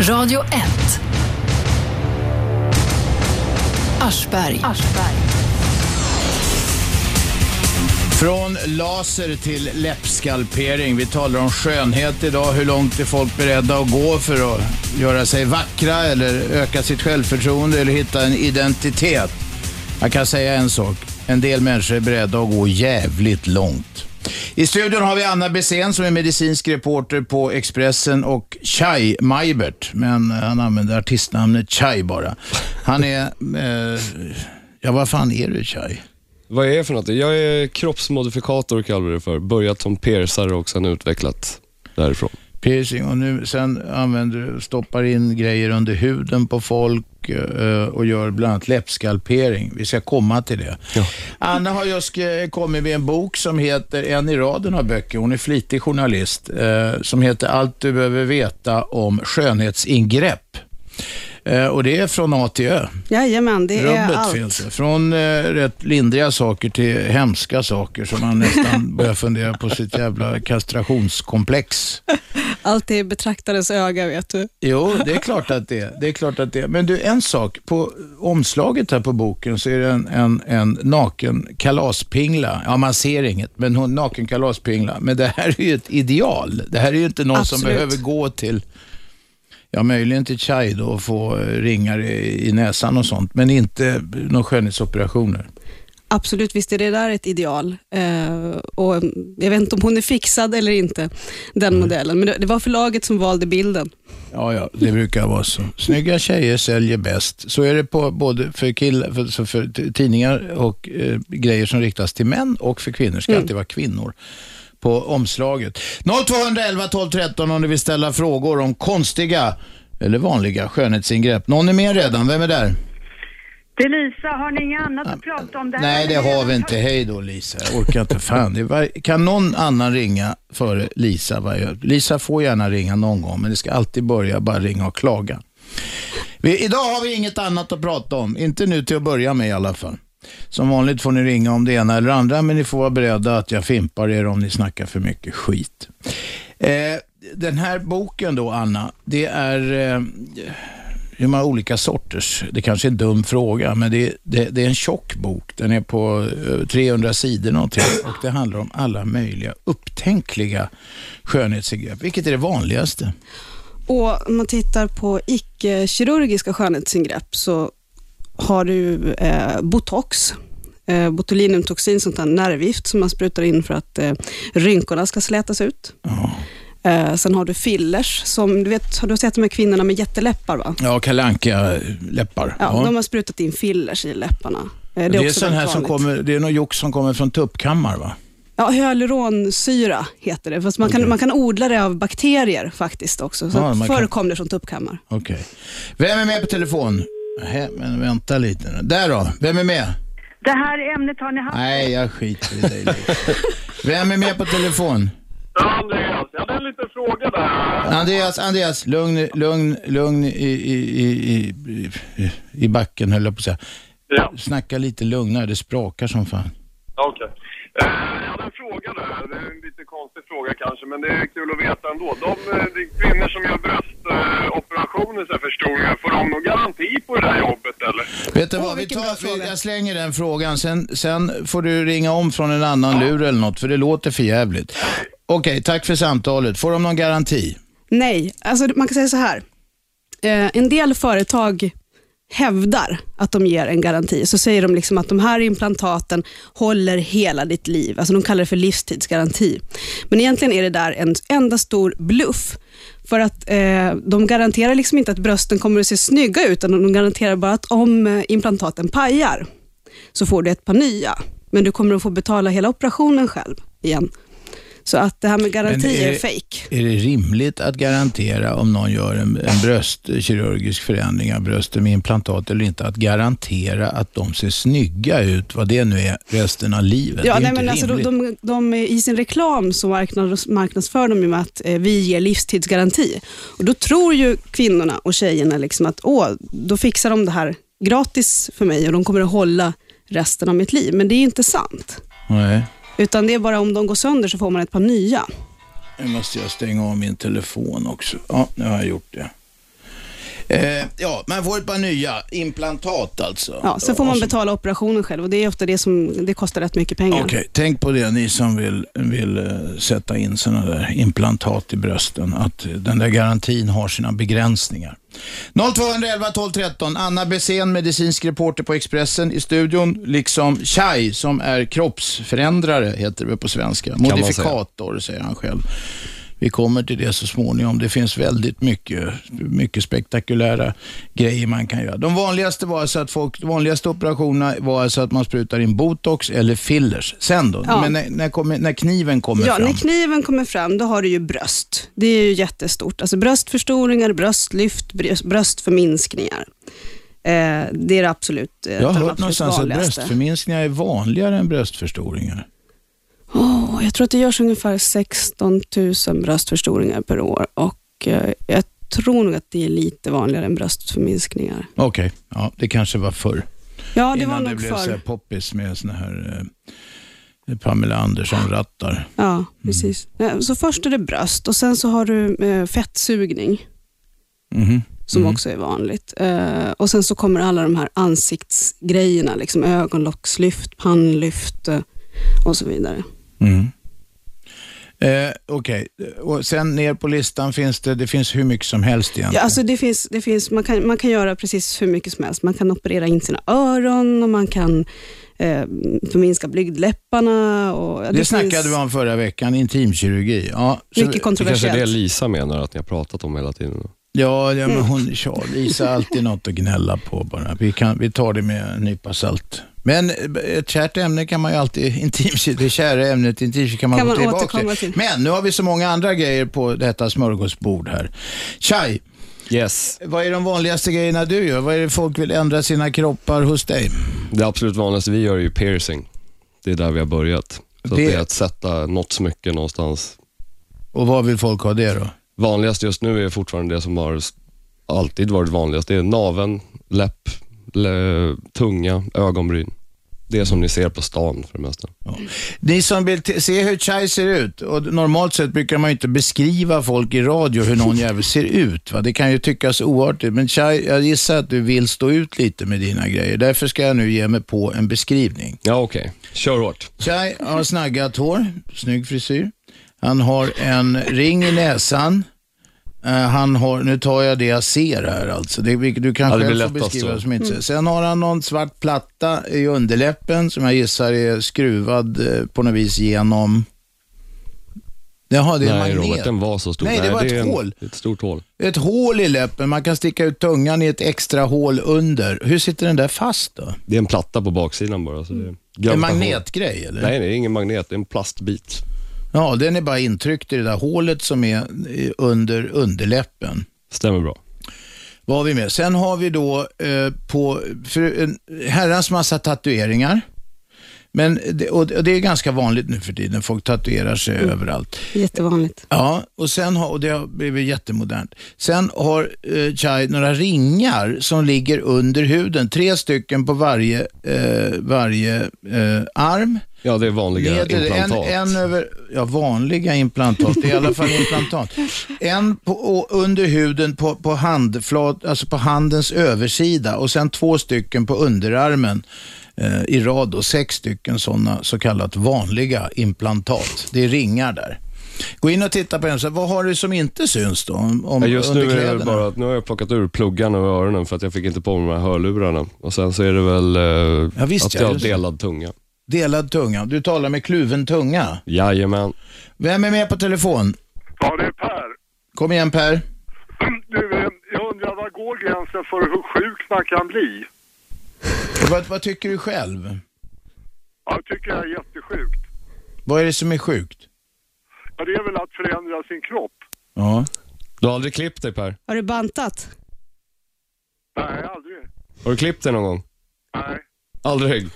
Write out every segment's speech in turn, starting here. Radio 1. Aschberg. Från laser till läppskalpering. Vi talar om skönhet idag. Hur långt är folk beredda att gå för att göra sig vackra eller öka sitt självförtroende eller hitta en identitet? Jag kan säga en sak. En del människor är beredda att gå jävligt långt. I studion har vi Anna Bessén som är medicinsk reporter på Expressen och Chai Majbert. Men eh, han använder artistnamnet Chai bara. Han är... Eh, ja, vad fan är du Chai? Vad är jag för något? Jag är kroppsmodifikator kallar vi det för. Börjat som persare och sen utvecklat därifrån. Piercing och nu sen använder du, stoppar in grejer under huden på folk eh, och gör bland annat läppskalpering. Vi ska komma till det. Anna har just eh, kommit med en bok som heter, en i raden av böcker, hon är flitig journalist, eh, som heter Allt du behöver veta om skönhetsingrepp. Eh, Och det är från A till Ö. Jajamän, det är Rubbet allt. finns det. Från eh, rätt lindriga saker till hemska saker som man nästan börjar fundera på sitt jävla kastrationskomplex. Allt är betraktarens öga, vet du. Jo, det är klart att det är. det är. klart att det är. Men du, en sak. På omslaget här på boken så är det en, en, en naken kalaspingla. Ja, man ser inget, men hon naken kalaspingla. Men det här är ju ett ideal. Det här är ju inte någon som Absolut. behöver gå till, ja möjligen till Chai då och få eh, ringar i, i näsan och sånt, men inte några skönhetsoperationer. Absolut, visst är det där ett ideal. Eh, och mm, jag vet inte om hon är fixad eller inte, den modellen. Men det, det var förlaget som valde bilden. Ja, ja, det brukar vara så. Snygga tjejer säljer bäst. Så är det på både för, killar, för, så för t- tidningar och eh, grejer som riktas till män och för kvinnor. ska alltid vara kvinnor på omslaget. 0211 12 13 om du vill ställa frågor om konstiga eller vanliga skönhetsingrepp. Någon är med redan. Vem är där? Det är Lisa, har ni inget annat att prata om? Det här Nej, det är har redan vi inte. Hej då Lisa. Jag orkar inte. Fan. Det var, kan någon annan ringa före Lisa? varje- Lisa får gärna ringa någon gång, men det ska alltid börja bara ringa och klaga. Vi, idag har vi inget annat att prata om. Inte nu till att börja med i alla fall. Som vanligt får ni ringa om det ena eller andra, men ni får vara beredda att jag fimpar er om ni snackar för mycket skit. Eh, den här boken då, Anna, det är... Eh, hur många olika sorters? Det kanske är en dum fråga, men det, det, det är en tjock bok. Den är på eh, 300 sidor någonting och det handlar om alla möjliga upptänkliga skönhetsingrepp. Vilket är det vanligaste? Och om man tittar på icke-kirurgiska skönhetsingrepp så har du eh, botox, eh, botulinumtoxin, sånt där nervgift som man sprutar in för att eh, rynkorna ska slätas ut. Eh, sen har du fillers, som du vet, har du sett de här kvinnorna med jätteläppar? Va? Ja, kalanka eh, läppar Ja, De har sprutat in fillers i läpparna. Eh, Det är, Det är, också sån här väldigt som vanligt. kommer, det är någon jox som kommer från tuppkammar va? Ja, hyaluronsyra heter det, fast man, kan, man kan odla det av bakterier faktiskt också. Så Ja, att man förr kan- kom det från tuppkammar. Okej. Vem är med på telefon? Nähä, men vänta lite nu. Där då, vem är med? Det här ämnet har ni haft. Nej, jag skiter i dig. Leif. Vem är med på telefon? Andreas, jag hade en liten fråga där. Andreas, Andreas, lugn, lugn, lugn i, i, i, i, i- i backen höll jag på att säga. Ja, Snacka lite lugnare, det sprakar som fan. okej. Eh, Jag hade en fråga där. Det är en lite konstig fråga kanske, men det är kul att veta ändå. De, eh, de kvinnor som gör bröstoperationer så här förstoringar, får de någon garanti på det där jobbet eller? Vet du vad, vi vilken bra tar, vi, fråga. jag slänger den frågan, sen, sen får du ringa om från en annan lur eller något, för det låter för jävligt. Okej, tack för samtalet. Får de någon garanti? Nej, alltså man kan säga så här. Eh, en del företag hävdar att de ger en garanti. Så säger de liksom att de här implantaten håller hela ditt liv. Alltså de kallar det för livstidsgaranti. Men egentligen är det där en enda stor bluff. För att eh, de garanterar liksom inte att brösten kommer att se snygga ut, utan de garanterar bara att om eh, implantaten pajar, så får du ett par nya. Men du kommer att få betala hela operationen själv igen. Så att det här med garanti är är, det- fake. Är det rimligt att garantera om någon gör en, en bröstkirurgisk förändring av brösten med implantat eller inte, att garantera att de ser snygga ut, vad det nu är, resten av livet? det Ja, är nej, inte men alltså, de, rimligt. de, de, I sin reklam så marknads, marknadsför de ju med att eh, vi ger livstidsgaranti. Och Då tror ju kvinnorna och tjejerna liksom att Åh, då fixar de det här gratis för mig och de kommer att hålla resten av mitt liv. Men det är inte sant. Nej. Utan det är bara om de går sönder så får man ett par nya. Nu måste jag stänga av min telefon också. Ja, nu har jag gjort det. Eh, ja, man får ett par nya implantat alltså. Ja, sen får Och man så- betala operationen själv och det är ofta det som det kostar rätt mycket pengar. Okej, tänk på det ni som vill, vill eh, sätta in sådana där implantat i brösten. Att eh, den där garantin har sina begränsningar. 0211 12 13. Anna Bessén, medicinsk reporter på Expressen i studion. Liksom Chai som är kroppsförändrare, heter det väl på svenska. man säga. Modifikator säger han själv. Vi kommer till det så småningom. Det finns väldigt mycket, mycket spektakulära grejer man kan göra. De vanligaste, var alltså att folk, de vanligaste operationerna var alltså att man sprutar in botox eller fillers. Sen då? Ja. Men när, när, kommer, när kniven kommer Ja, fram? när kniven kommer fram, då har du ju bröst. Det är ju jättestort. Alltså bröstförstoringar, bröstlyft, bröst- bröstförminskningar. Eh, det är det absolut eh, Jag har de hört absolut någonstans att vanligaste. bröstförminskningar är vanligare än bröstförstoringar. Åh, jag tror att det görs ungefär 16 000 bröstförstoringar per år och eh, jag tror nog att det är lite vanligare än bröstförminskningar. Okej, ja, det kanske var förr. Ja, det Innan var det nog blev så här förr. poppis med såna här eh, Pamela Andersson-rattar. Ja, precis. Nej, Så först är det bröst och sen så har du eh, fettsugning. Mhm. som också är vanligt. Eh, och Sen så kommer alla de här ansiktsgrejerna, liksom ögonlockslyft, pannlyft eh, och så vidare. Mm. Eh, Okej, och sen ner på listan finns det, det finns hur mycket som helst egentligen. Ja, alltså det finns, det finns, man, kan, man kan göra precis hur mycket som helst. Man kan operera in sina öron och man kan eh, förminska blygdläpparna. Och, ja, det snackade finns vi om förra veckan, intimkirurgi. Ja, så- Mycket Det kanske är det kontroversiellt. Lisa menar att ni har pratat om hela tiden. ja, ja, men Mm. hon, Charles, Lisa har alltid något att gnälla på bara. Vi, kan, vi tar det med en nypa salt. Men eh, ett kärt ämne kan man ju alltid, intimkirurgi, det kära ämnet intimkirurgi kan man, Kan gå man tillbaka återkomma till. till. Men nu har vi så många andra grejer på detta smörgåsbord här. Chai, Yes. vad är de vanligaste grejerna du gör? Vad är det folk vill ändra sina kroppar hos dig? Det absolut vanligaste vi gör är ju piercing. Det är där vi har börjat. Så det... Det- Att det är att sätta något smycke någonstans. Och vad vill folk ha det då? Vanligast just nu är fortfarande det som har s- alltid varit vanligast. Det är naven, läpp, le, tunga, ögonbryn. Det är som ni ser på stan för det mesta. Ni som vill t- se hur Chai ser ut, och normalt sett brukar man ju inte beskriva folk i radio hur någon jävel ser ut. Va? Det kan ju tyckas oartigt, men Chai, jag gissar att du vill stå ut lite med dina grejer. Därför ska jag nu ge mig på en beskrivning. Ja, okej. Kör hårt. Chai har snaggat hår, snygg frisyr. Han har en ring i näsan. Eh, Han har, nu tar jag det jag ser här alltså. Det, vilket du kan Ja, det själv blir få lättast beskriva så. som inte ser. Sen har han någon svart platta i underläppen som jag gissar är skruvad eh, på något vis genom... Jaha, det är en Nej, magnet. Robert, den var så stor. Nej, det var ett är hål. En, ett stort hål. Ett hål i läppen, man kan sticka ut tungan i ett extra hål under. Hur sitter den där fast då? Det är en platta på baksidan bara. Så det är en gravitation. magnetgrej eller? Nej, det är ingen magnet. Det är en plastbit. Ja, den är bara intryckt i det där hålet som är eh, under underläppen. Stämmer bra. Vad har vi med? Sen har vi då eh, på för en herrans massa tatueringar. Men det, och det och det är ganska vanligt nu för tiden. Folk tatuerar sig överallt. Jättevanligt. Ja, och, sen har, och det har blivit jättemodernt. Sen har eh, Chai några ringar som ligger under huden. Tre stycken på varje, eh, varje eh, arm. Ja, det är vanliga Leder det en, implantat. en över, ja vanliga implantat, det är i alla fall implantat. En på, och under huden på, på handflat, alltså på handens översida och sen två stycken på underarmen eh, i rad och sex stycken sådana så kallat vanliga implantat. Det är ringar där. Gå in och titta på den, så här, vad har du som inte syns då? Om, om, Ja, just under nu är det kläderna? bara att nu har jag plockat ur pluggarna och öronen för att jag fick inte på mig de här hörlurarna. Och sen så är det väl eh, Ja, visst, att ja, jag har just det. delad tunga. Delad tunga, du talar med kluven tunga. Jajamän. Vem är med på telefon? Ja, det är Per. Kom igen Per. Du, eh, jag undrar, var går gränsen för hur sjuk man kan bli? Vad, vad tycker du själv? Ja, jag tycker jag är jättesjukt. Vad är det som är sjukt? Ja, det är väl att förändra sin kropp. Ja. Du har aldrig klippt dig Per? Har du bantat? Nej, aldrig. Har du klippt dig någon gång? Nej. Aldrig.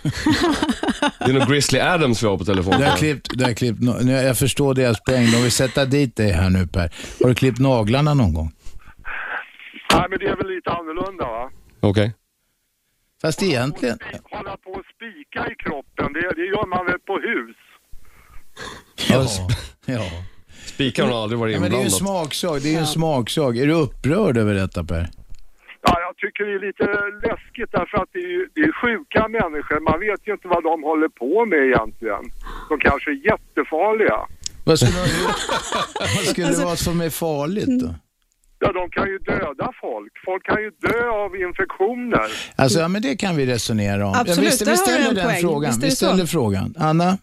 det är nog Grizzly Adams vi har på telefon. Du har klippt, du har klippt, na- nu- jag förstår deras poäng. De vill sätta dit dig här nu Per. Har du klippt naglarna någon gång? Nej, men det är väl lite annorlunda va? Okej. Fast egentligen, Hålla på och spika i kroppen, det, det gör man väl på hus? ja. ja. Spikar har aldrig varit ja men det är ju en inblandat. smaksak. Det är ju en smaksak. Är du upprörd över detta Per? tycker det är lite läskigt därför att det är, ju- det är sjuka människor. Man vet ju inte vad de håller på med egentligen. De kanske är jättefarliga. Vad skulle, vad skulle Alltså- det vara som är farligt då? Ja, de kan ju döda folk. Folk kan ju dö av infektioner. Alltså, ja, men det kan vi resonera om. Absolut, ja, visst, där vi har du ställer en den poäng. frågan. Visst är vi det så. ställer frågan. Anna?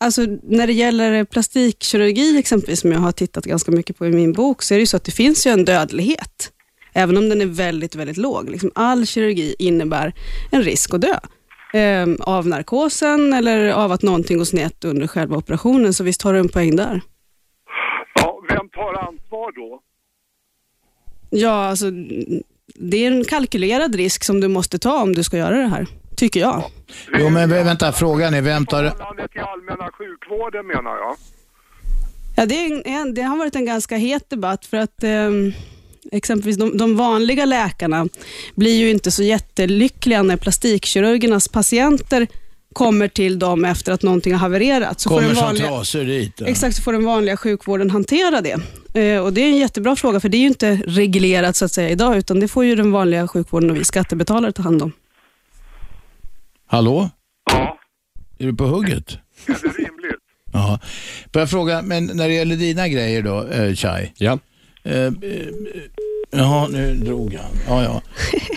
Alltså, när det gäller plastikkirurgi exempelvis, som jag har tittat ganska mycket på i min bok, så är det ju så att det finns ju en dödlighet. Även om den är väldigt, väldigt låg. Liksom all kirurgi innebär en risk att dö. Ehm, av narkosen eller av att någonting går snett under själva operationen, så visst har du en poäng där. Ja, vem tar ansvar då? Ja, alltså, det är en kalkylerad risk som du måste ta om du ska göra det här, tycker jag. Jo, men vä- vänta, frågan är vem tar... Förhållandet till allmänna sjukvården menar jag. Ja, det, är en- en, det har varit en ganska het debatt för att ehm, exempelvis de, de vanliga läkarna blir ju inte så jättelyckliga när plastikkirurgernas patienter kommer till dem efter att någonting har havererat. Så får Kommer den som vanliga- trasor dit. ja. Exakt, så får den vanliga sjukvården hantera det. Eh, och Det är en jättebra fråga, för det är ju inte reglerat så att säga idag, utan det får ju den vanliga sjukvården och vi skattebetalare ta hand om. Hallå? Ja, Är du på hugget? är det rimligt? Ja. Får jag fråga, men när det gäller dina grejer då, eh, Chai? Ja. Eh, eh, Jaha, nu drog han. Ja,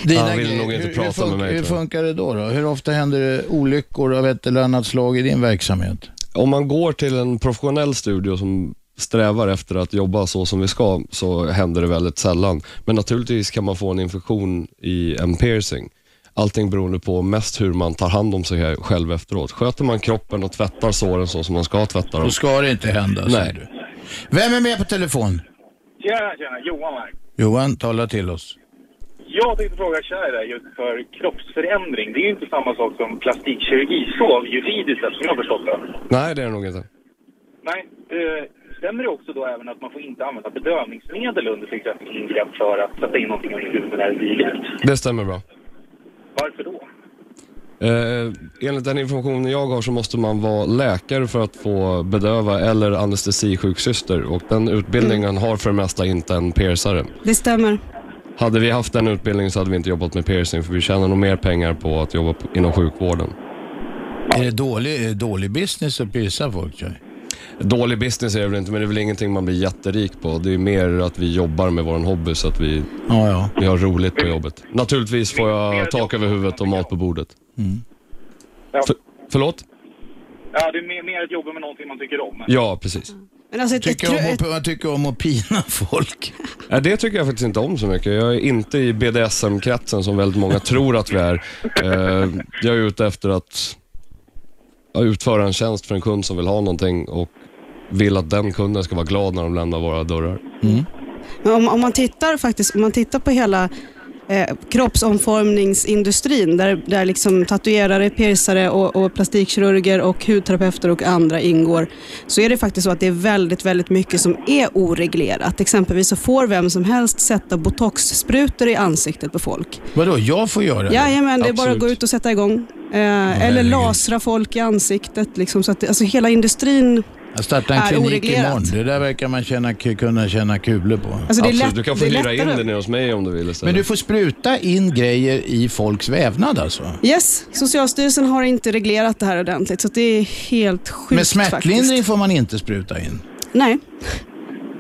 ja. Han vill grejer, nog inte hur, prata hur med mig, Hur tror jag. funkar det då, då? Hur ofta händer det olyckor av ett eller annat slag i din verksamhet? Om man går till en professionell studio som strävar efter att jobba så som vi ska, så händer det väldigt sällan. Men naturligtvis kan man få en infektion i en piercing. Allting beroende på mest hur man tar hand om sig själv efteråt. Sköter man kroppen och tvättar såren så som man ska tvätta dem. Då ska det inte hända, säger Nej. du. Vem är med på telefon? Tjena, tjena. Johan här. Johan, tala till oss. Jag tänkte fråga kära dig just för kroppsförändring. Det är ju inte samma sak som plastikkirurgi så juridiskt sett som jag har förstått det. Nej, det är det nog inte. Nej, eh, stämmer det också då även att man får inte använda bedövningsmedel under till exempel ingrepp för att sätta in någonting under huden eller dylikt? Det stämmer bra. Varför då? Eh, enligt den informationen jag har så måste man vara läkare för att få bedöva eller anestesisjuksyster och den utbildningen Mm. har för det mesta inte en piercare. Det stämmer. Hade vi haft den utbildningen så hade vi inte jobbat med piercing för vi tjänar nog mer pengar på att jobba på, inom sjukvården. Är det dålig, är det dålig business att pysa folk? Chai? Dålig business är det väl inte men det är väl ingenting man blir jätterik på. Det är mer att vi jobbar med vår hobby så att vi, Ja, ja. vi har roligt på jobbet. Naturligtvis får jag tak över huvudet och mat på bordet. Mm. Ja, För, förlåt? ja det är mer, mer att jobba med någonting man tycker om. Ja, precis. Men alltså ett, Tycker ett, kro- om ett, att, man tycker om att pina folk. Nej, det tycker jag faktiskt inte om så mycket. Jag är inte i BDSM-kretsen som väldigt många tror att vi är. Eh, Jag är ute efter att ja, utföra en tjänst för en kund som vill ha någonting och vill att den kunden ska vara glad när de lämnar våra dörrar. Mm. Men om, om, man tittar faktiskt, om man tittar på hela eh, kroppsomformningsindustrin där, där liksom tatuerare, piercare, och, och plastikkirurger och hudterapeuter och andra ingår så är det faktiskt så att det är väldigt, väldigt mycket som är oreglerat. Exempelvis så får vem som helst sätta botoxsprutor i ansiktet på folk. Vadå, jag får göra det? Jajamän, det är bara att gå absolut. ut och sätta igång. Eh, eller herregud. lasra folk i ansiktet. Liksom, så att, det- alltså hela industrin Jag startar en Är klinik oreglerat. imorgon. Det där verkar man tjäna, kunna tjäna kulor på. Alltså det är Absolut, lätt, du kan få det är hyra in lättare. det nere hos mig om du vill istället. Men du får spruta in grejer i folks vävnad alltså? Yes, Socialstyrelsen har inte reglerat det här ordentligt, så att det är helt sjukt Med smärtlindring faktiskt. får man inte spruta in. Nej.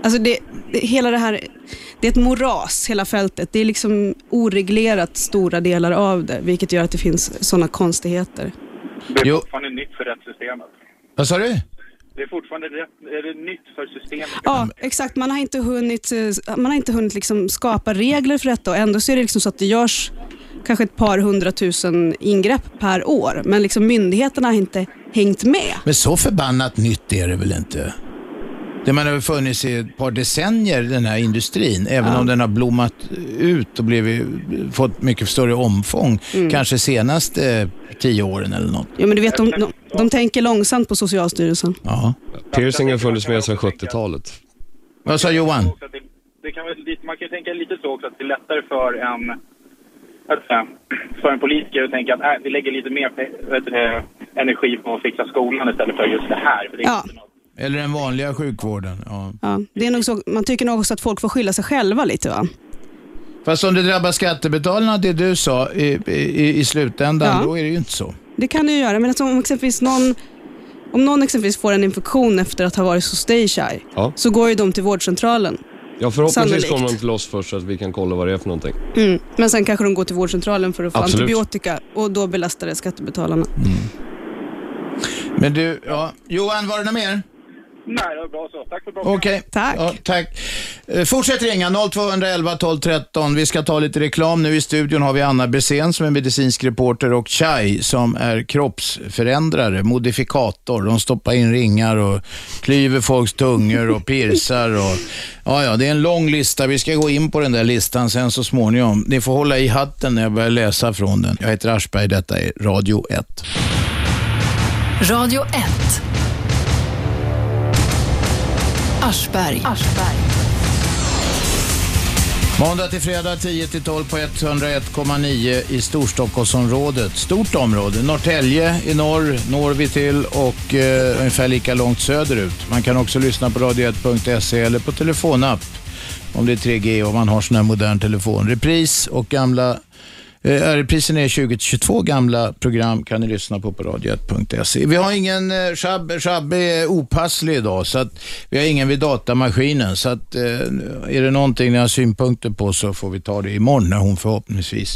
Alltså det, det, hela det här, det är ett moras, hela fältet. Det är liksom oreglerat stora delar av det, vilket gör att det finns sådana konstigheter. Det är Jo. fortfarande nytt för rättssystemet. Vad sa du? Det är fortfarande rätt, är det nytt för systemet. Mm. Ja, exakt. Man har inte hunnit, eh, man har inte hunnit liksom skapa regler för detta och ändå så är det liksom så att det görs kanske ett par hundratusen ingrepp per år, men liksom myndigheterna har inte hängt med. Men så förbannat nytt är det väl inte? Det man har väl funnits i ett par decennier, den här industrin, även om den har blommat ut och blivit, fått mycket större omfång, kanske senaste eh, tio åren eller något. Jo, Mm. men du vet, de, de, de tänker långsamt på Socialstyrelsen. Ja. Piercing har funnits med sedan 70-talet. Vad sa Johan? också att det, det kan väl, lite- man kan ju tänka lite så också att det är lättare för en, att säga, för en politiker att tänka att äh, vi lägger lite mer pe- vet du det, energi på att fixa skolan istället för just det här. För det är Ja. inte något- Eller den vanliga sjukvården. Ja. Ja, det är nog så, man tycker nog också att folk får skylla sig själva lite va? Fast om det drabbar skattebetalarna, det du sa i, i, i slutändan, Ja. då är det ju inte så. Det kan du göra, men alltså, om exempelvis någon om någon exempelvis får en infektion efter att ha varit hos Stayshire, Ja. så går ju de till vårdcentralen. Ja, förhoppningsvis Sannolikt. kommer de till oss först så att vi kan kolla vad det är för någonting. Mm. Men sen kanske de går till vårdcentralen för att få Absolut. antibiotika och då belastar det skattebetalarna. Men du, ja. Johan, var det något mer? Nej, det var bra så. Tack för bra program. Okej. Tack. Ja, tack. Eh, Fortsätt ringa 0211 12 13. Vi ska ta lite reklam. Nu i studion har vi Anna Bessén som är medicinsk reporter och Chai som är kroppsförändrare, modifikator. De stoppar in ringar och klyver folks tungor och piercar. Och... Ja, ja, det är en lång lista. Vi ska gå in på den där listan sen så småningom. Ni får hålla i hatten när jag börjar läsa från den. Jag heter Aschberg. Detta är Radio 1. Radio 1. Aschberg. Måndag till fredag 10-12 på 101,9 i Storstockholmsområdet. Stort område. Norrtälje i norr når vi till och eh, ungefär lika långt söderut. Man kan också lyssna på radio1.se eller på telefonapp om det är 3G och man har sån här modern telefon. Repris och gamla Eh, Reprisen är 2022 gamla program kan ni lyssna på på radio1.se. Vi har ingen, eh, Shabbe Shab är opasslig idag, så att vi har ingen vid datamaskinen. Så att, eh, är det någonting ni har synpunkter på så får vi ta det imorgon när hon förhoppningsvis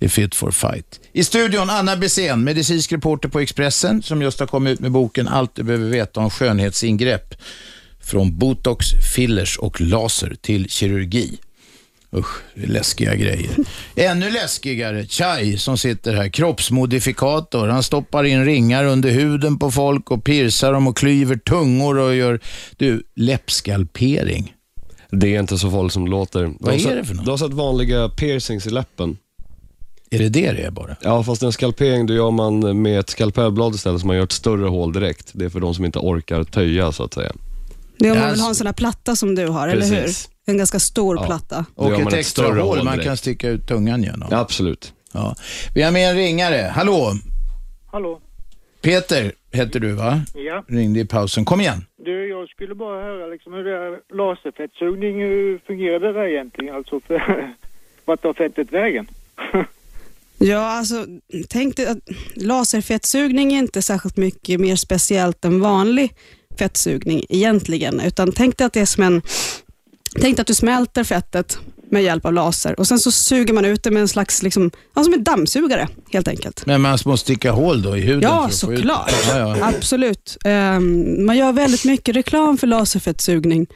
är fit for fight. I studion Anna Bessén, medicinsk reporter på Expressen, som just har kommit ut med boken Allt du behöver veta om skönhetsingrepp. Från botox, fillers och laser till kirurgi. Usch, det är läskiga grejer. Ännu läskigare, Chai som sitter här, kroppsmodifikator. Han stoppar in ringar under huden på folk och piercar dem och klyver tungor och gör, du, läppskalpering. Det är inte så farligt som det låter. De Vad är har det sett- för något? De har satt vanliga piercings i läppen. Är det det det är bara? Ja, fast en skalpering då gör man med ett skalpellblad istället, så man gör ett större hål direkt. Det är för de som inte orkar töja, så att säga. Det är om Ja, man vill ha en alltså- sån här platta som du har, eller hur? Precis. En ganska stor Ja. platta. Då gör Och ett man ett extra större hål hål man direkt. kan sticka ut tungan genom. Ja, absolut. Ja. Vi har med en ringare. Hallå, Hallå? Peter heter du va? Ja. Ringde i pausen. Kom igen. Du, jag skulle bara höra liksom hur det här laserfettsugning, hur fungerar det där egentligen? Alltså, för, vart tar fettet vägen? Ja, alltså tänk dig att laserfettsugning är inte särskilt mycket mer speciellt än vanlig fettsugning egentligen, utan tänk dig att det är som en... Tänk dig att du smälter fettet med hjälp av laser och sen så suger man ut det med en slags, liksom, ja, som en dammsugare helt enkelt. Men man måste sticka hål då i huden för Ja, att få ut- såklart. Ja, ja. Absolut. Ehm, man gör väldigt mycket reklam för laserfettsugning.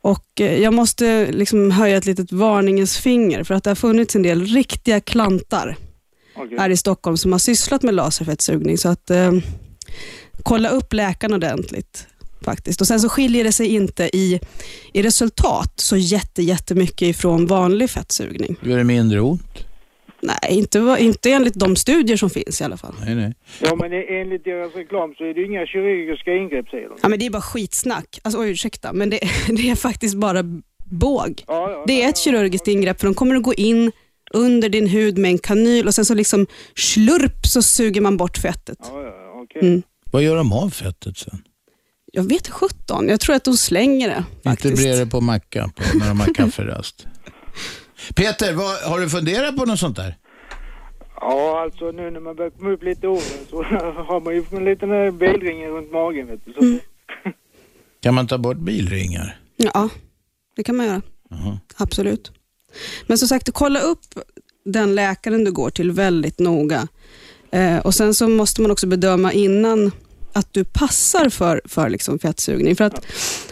Och eh, jag måste liksom höja ett litet varningens finger för att det har funnits en del riktiga klantar Okej. här i Stockholm som har sysslat med laserfettsugning. Så att eh, kolla upp läkaren ordentligt faktiskt. Och Sen så skiljer det sig inte i, i resultat så jätte, jättemycket ifrån vanlig fettsugning. Gör det mindre ont? Nej, inte, va- inte enligt de studier som finns i alla fall. Nej, nej. Ja, men enligt deras reklam så är det ju inga kirurgiska ingrepp, säger de. Ja, men det är bara skitsnack. Alltså, oj, ursäkta, men det, det är faktiskt bara båg. Ja, ja, Det är ett kirurgiskt ingrepp för de kommer att gå in under din hud med en kanyl och sen så liksom slurp så suger man bort fettet. Ja, ja, okej. Mm. Vad gör de av fettet sen? Jag vet sjutton, jag tror att de slänger det faktiskt. Inte blir det på mackan på, när de har kafferast. Peter, vad, har du funderat på något sånt där? Ja, alltså nu när man börjar komma upp lite i åren så har man ju en liten eh, bildring runt magen, vet du. Så, Kan man ta bort bilringar? Ja, det kan man göra. Absolut. Men som sagt, kolla upp den läkaren du går till väldigt noga. Eh, och Sen så måste man också bedöma innan att du passar för, för liksom fettsugning. För att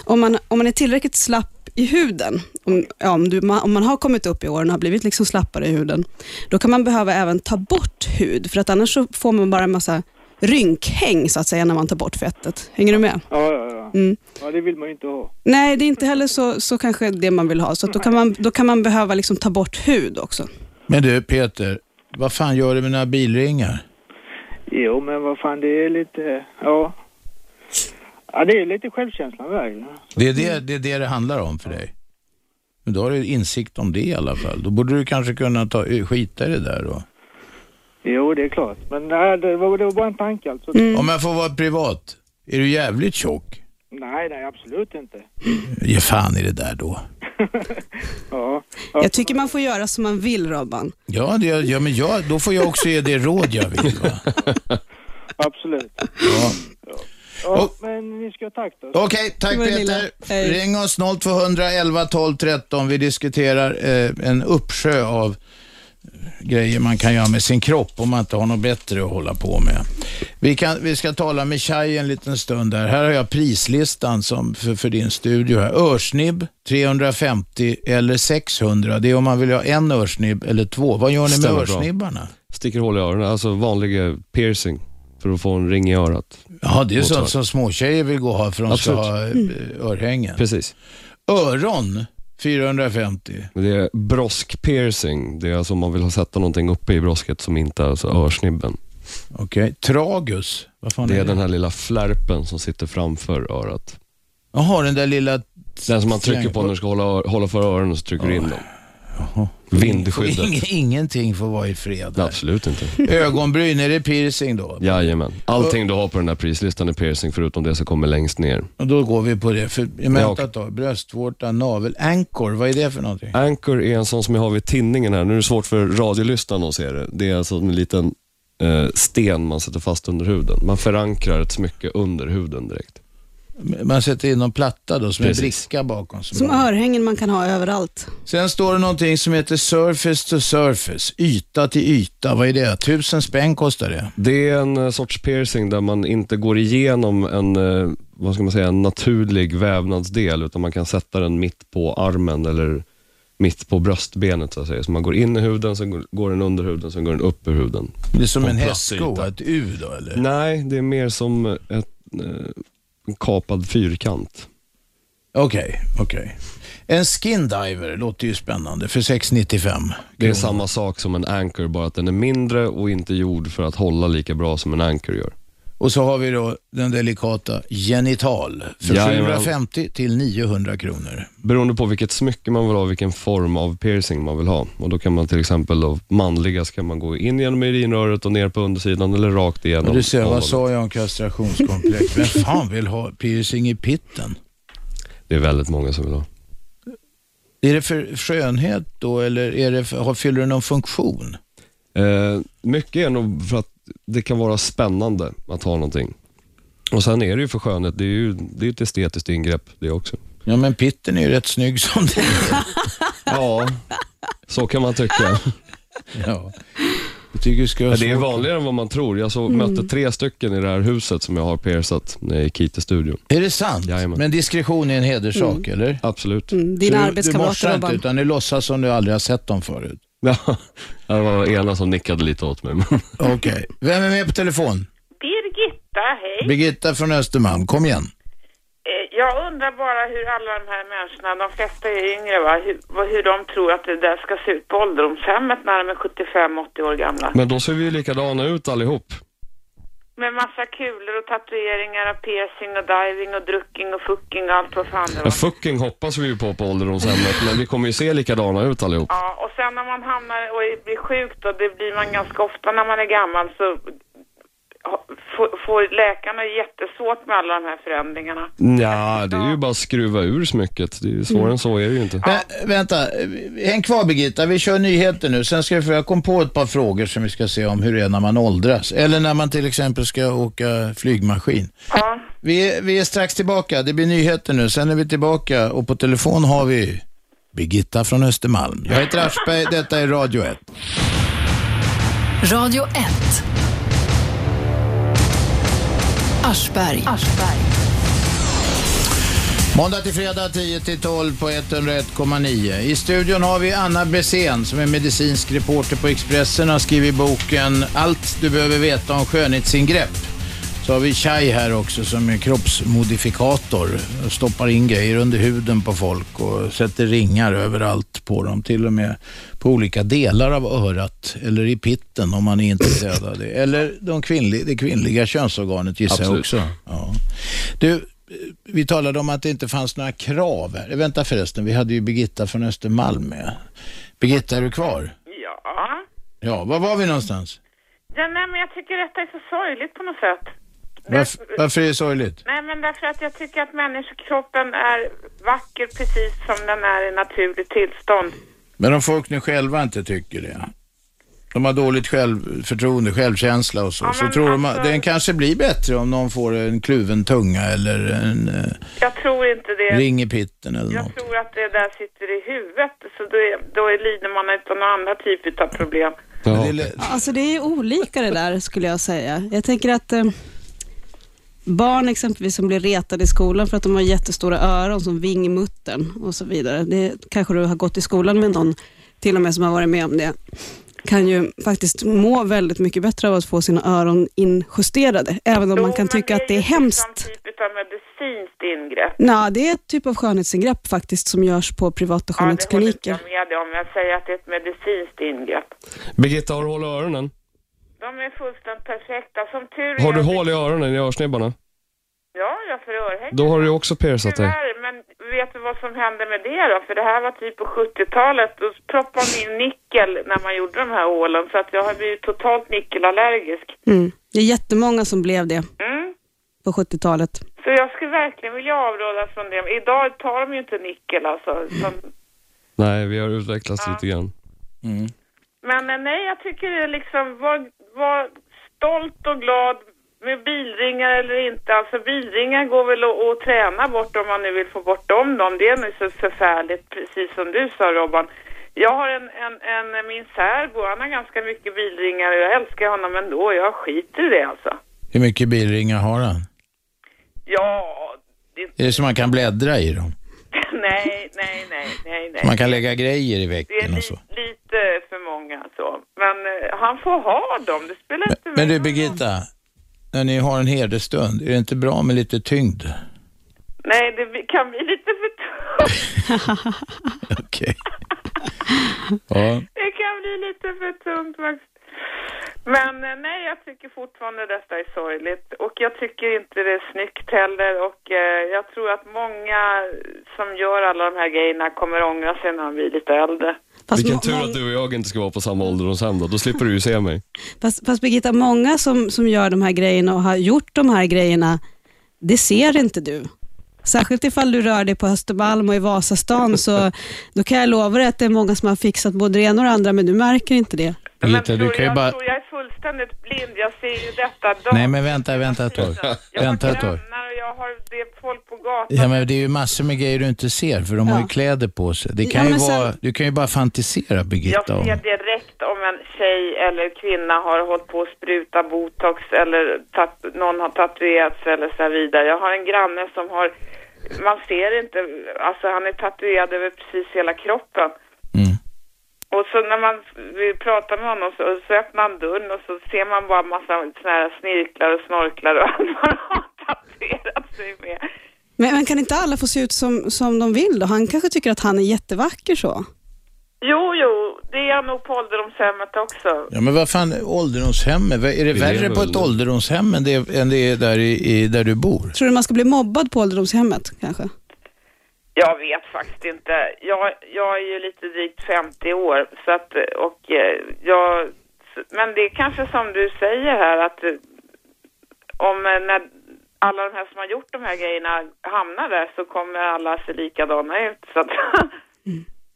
om man, om man är tillräckligt slapp i huden, om, ja, om, du, ma- om man har kommit upp i åren och har blivit liksom slappare i huden, då kan man behöva även ta bort hud, för att annars så får man bara en massa rynkhäng så att säga när man tar bort fettet. Hänger du med? Ja, ja, ja. Mm. Ja, det vill man ju inte ha. Nej, det är inte heller så, så kanske det man vill ha. Så att då, kan man, då kan man behöva liksom ta bort hud också. Men du Peter, vad fan gör du med några bilringar? Jo, men vad fan, det är lite... Ja. Ja, det är lite självkänslan vägen. Det är det det, är det, det handlar om för dig. Men då har du insikt om det i alla fall. Då borde du kanske kunna ta, eh, skita i det där då. Jo, det är klart. Men nej, det var, det var bara en tanke alltså. Om jag får vara privat, är du jävligt tjock? Nej, nej, absolut inte. Ge fan i det där då. Ja, Jag tycker man får göra som man vill, Robban. Ja, det, ja men jag, då får jag också ge det råd jag vill. Va? Absolut. Ja. Ja, Och- men ni ska ha tack då. Okej, tack Det var det lilla. Peter. Hej. Ring oss 0200 11 12 13. Vi diskuterar eh, en uppsjö av grejer man kan göra med sin kropp om man inte har något bättre att hålla på med. Vi, kan, vi ska tala med Chai en liten stund där. Här har jag prislistan som för, för din studio. Här. Örsnibb 350 eller 600. Det är om man vill ha en örsnibb eller två. Vad gör ni med Stämmer bra. örsnibbarna? Sticker hål i öronen, alltså vanlig piercing för att få en ring i örat. Ja, det är Motsvar. sånt som småtjejer vill gå och ha för de ska Absolut. ha eh, örhängen. Precis. Öron 450. Men Det är broskpiercing. Det är alltså om man vill sätta någonting uppe i brosket som inte är alltså örsnibben. Okej. Tragus? Vad fan Det är är det? den här lilla flärpen som sitter framför örat. Jaha, den där lilla... Den som man trycker på när du ska hålla, ö- hålla för öronen så trycker du in den. Vindskyddet. Ing, ingenting får vara i fred. Nej, här. Absolut inte. Ögonbryn, är det piercing då? Jajamän. Allting du har på den här prislistan är piercing förutom det som kommer längst ner. Och då går vi på det. För, men Ja, vänta ett tag. Bröstvårta, navel, ankor, vad är det för någonting? Anchor är en sån som jag har vid tinningen här. Nu är det svårt för radiolyssnaren att se det. Det är alltså en liten eh, sten man sätter fast under huden. Man förankrar ett smycke under huden direkt. Man sätter in någon platta då, som en Precis. bricka bakom. som Som man- örhängen man kan ha överallt. Sen står det någonting som heter surface to surface, yta till yta. Vad är det? Tusen spänn kostar det. Det är en eh, sorts piercing där man inte går igenom en, eh, vad ska man säga, en naturlig vävnadsdel utan man kan sätta den mitt på armen eller mitt på bröstbenet så att säga. Så man går in i huden, sen går- går den under huden, sen går den upp ur huden. Det är som På en platt hästsko, yta. ett U då eller? Nej, det är mer som ett, eh, en kapad fyrkant. Okej, okej. En skindiver låter ju spännande för 695. Det är samma sak som en anchor, bara att den är mindre och inte gjord för att hålla lika bra som en anchor gör. Och så har vi då den delikata genital för Jajamän. 750 till 900 kronor. Beroende på vilket smycke man vill ha, vilken form av piercing man vill ha. Och Då kan man till exempel, då, manliga ska man gå in genom urinröret och ner på undersidan eller rakt igenom. Och du ser, vad analen. sa jag om kastrationskomplex? Vem fan vill ha piercing i pitten? Det är väldigt många som vill ha. Är det för skönhet då eller är det för, har- fyller det någon funktion? Eh, mycket är nog för att det kan vara spännande att ha någonting. Och sen är det ju för skönhet, det är ju det är ett estetiskt ingrepp det också. Ja, men pitten är ju rätt snygg som det är. Ja, så kan man tycka. Ja. Jag tycker du ska ha Ja, det är svårt- vanligare än vad man tror. Jag så, Mm. Mm. mötte tre stycken i det här huset som jag har piercat när jag gick hit till studion. Är det sant? Jajamän. Men diskretion är en hederssak, eller? Absolut. Mm, Så dina du, du arbetskamrater, morsar inte, Robban. utan du låtsas som du aldrig har sett dem förut. Ja, det var ena som nickade lite åt mig. men- Okej. Vem är med på telefon? Birgitta, hej. Birgitta från Östermalm, kom igen. Eh, Jag undrar bara hur alla de här människorna, de flesta är yngre va, hur, vad- hur de tror att det där ska se ut på ålderdomshemmet när de är 75-80 år gamla. Men då ser vi ju likadana ut allihop. Med massa kulor och tatueringar och piercing och diving och drucking och fucking och allt vad fan det Ja, var. fucking hoppas vi ju på på ålderdomshemmet, men vi kommer ju se likadana ut allihop. Ja, och sen när man hamnar och är- blir sjuk då, det blir man ganska ofta när man är gammal, så ha- får- får läkarna jättesvårt med alla de här förändringarna. Nja, det är ju bara att skruva ur smycket. Det är ju svårare än så är det ju inte. Vä- vänta, häng kvar Birgitta. Vi kör nyheter nu. Sen ska vi, för jag kom på ett par frågor som vi ska se om hur det är när man åldras. Eller när man till exempel ska åka flygmaskin. Ja, Vi är, vi är strax tillbaka. Det blir nyheter nu. Sen är vi tillbaka och på telefon har vi Birgitta från Östermalm. Jag heter Aschberg. Detta är Radio 1. Radio 1. Aschberg. Måndag till fredag 10 till 12 på 101,9. I studion har vi Anna Bessén som är medicinsk reporter på Expressen och har skrivit boken Allt du behöver veta om skönhetsingrepp. Så har vi Chai här också som är kroppsmodifikator. Stoppar in grejer under huden på folk och sätter ringar överallt på dem. Till och med på olika delar av örat eller i pitten om man är intresserad av det. Eller de kvinnli- det kvinnliga könsorganet gissar jag Absolut. också. Ja. Du, eh, vi talade om att det inte fanns några krav. Här. Vänta förresten, vi hade ju Birgitta från Östermalm med. Birgitta, är du kvar? ja. Ja, var var vi någonstans? Ja, nej, men jag tycker detta är så sorgligt på något sätt. Varför, Eh, varför är det sorgligt? Nej, men därför att jag tycker att människokroppen är vacker precis som den är i naturligt tillstånd. Men om folk nu själva inte tycker det. De har dåligt självförtroende, självkänsla och så. Ja, så men tror de att alltså- den kanske blir bättre om någon får en kluven tunga eller en Jag tror inte det. eh, ring i pitten eller något. Jag tror att det där sitter i huvudet, så då, är, då är, lider man av några andra typer av typ problem. Alltså det är olika det där skulle jag säga. Jag tänker att eh, barn exempelvis som blir retade i skolan för att de har jättestora öron som vingmuttern och så vidare. Det kanske du har gått i skolan med någon till och med som har varit med om det kan ju faktiskt må väldigt mycket bättre av att få sina öron injusterade. Även om man kan tycka att det är hemskt. Typ av medicinskt ingrepp. Nej, det är ett typ av skönhetsingrepp faktiskt som görs på privata Ja, det håller inte skönhetskliniker. jag med om. Jag säger att det är ett medicinskt ingrepp. Birgitta, har du hål i öronen? De är fullständigt perfekta. Som tur är... Har du hål i öronen, i örsnibbarna? Ja, jag får örhängen. Då har du ju också piercat dig. Tyvärr, men vet du vad som hände med det då? För det här var typ på 70-talet. Då proppade man in nickel när man gjorde de här ålen. Så att jag har blivit totalt nickelallergisk. Mm. Det är jättemånga som blev det Mm. på 70-talet. Så jag skulle verkligen vilja avråda från det. Idag tar de ju inte nickel alltså. Som... Nej, vi har utvecklats lite grann. Men eh, nej, jag tycker det är liksom, var, var stolt och glad med bilringar eller inte. Alltså bilringar går väl att, att träna bort om man nu vill få bort dem. dem. Det är nu så förfärligt, precis som du sa Robban. Jag har en, en, en min särbo, han har ganska mycket bilringar och jag älskar honom ändå. Jag skiter i det alltså. Hur mycket bilringar har han? Ja, Är det så man kan bläddra i dem? nej, nej, nej, nej, nej. Man kan lägga grejer i Det är väggen och så. li- lite för många så. Men eh, han får ha dem, det spelar inte Men du Birgitta, när ni har en herdestund, är det inte bra med lite tyngd? Nej, det bli- kan bli lite för tungt. Okej. Ja. det kan bli lite för tungt Max. Men eh, nej, jag tycker fortfarande detta är sorgligt. Och jag tycker inte det är snyggt heller. Och eh, jag tror att många som gör alla de här grejerna kommer ångra sig när de blir lite äldre. Vilken tur att du och jag inte ska vara på samma ålderdomshem då. Då slipper du ju se mig. Fast, fast Birgitta, många som, som gör de här grejerna och har gjort de här grejerna, det ser inte du. Särskilt ifall du rör dig på Östermalm och i Vasastan, så då kan jag lova dig att det är många som har fixat både det ena och det andra, men du märker inte det. Birgitta, du kan ju jag bara... tror jag är fullständigt blind. Jag ser ju detta Nej men vänta, vänta ett tag. Jag har Vänta ett tag. grannar och jag har det är folk på gatan. Ja, men det är ju massor med grejer du inte ser, för de har ju kläder på sig. Det kan Ja, ju men sen- vara, du kan ju bara fantisera, Jag Birgitta. ser Om. direkt om en tjej eller kvinna har hållit på att spruta botox eller tat- någon har tatuerat sig eller så här vidare. Jag har en granne som har, man ser inte, alltså han är tatuerad över precis hela kroppen. Och så när man vi pratar med honom så, så öppnar han dörren och så ser man bara massa såna här snirklar och snorklar och allt vad han har tatuerat sig med. Men, men kan inte alla få se ut som, som de vill då? Han kanske tycker att han är jättevacker så. Jo, jo, det är jag nog på ålderdomshemmet också. Ja, men vad fan, ålderdomshem, är är det Vi värre lever på väl ett nu. ålderdomshem än det, än det är där, i, i, där du bor? Tror du man ska bli mobbad på ålderdomshemmet kanske? Jag vet faktiskt inte. Jag, jag är ju lite drygt 50 år så att, och eh, jag, men det är kanske som du säger här att eh, om eh, när alla de här som har gjort de här grejerna hamnar där så kommer alla se likadana ut. Så att,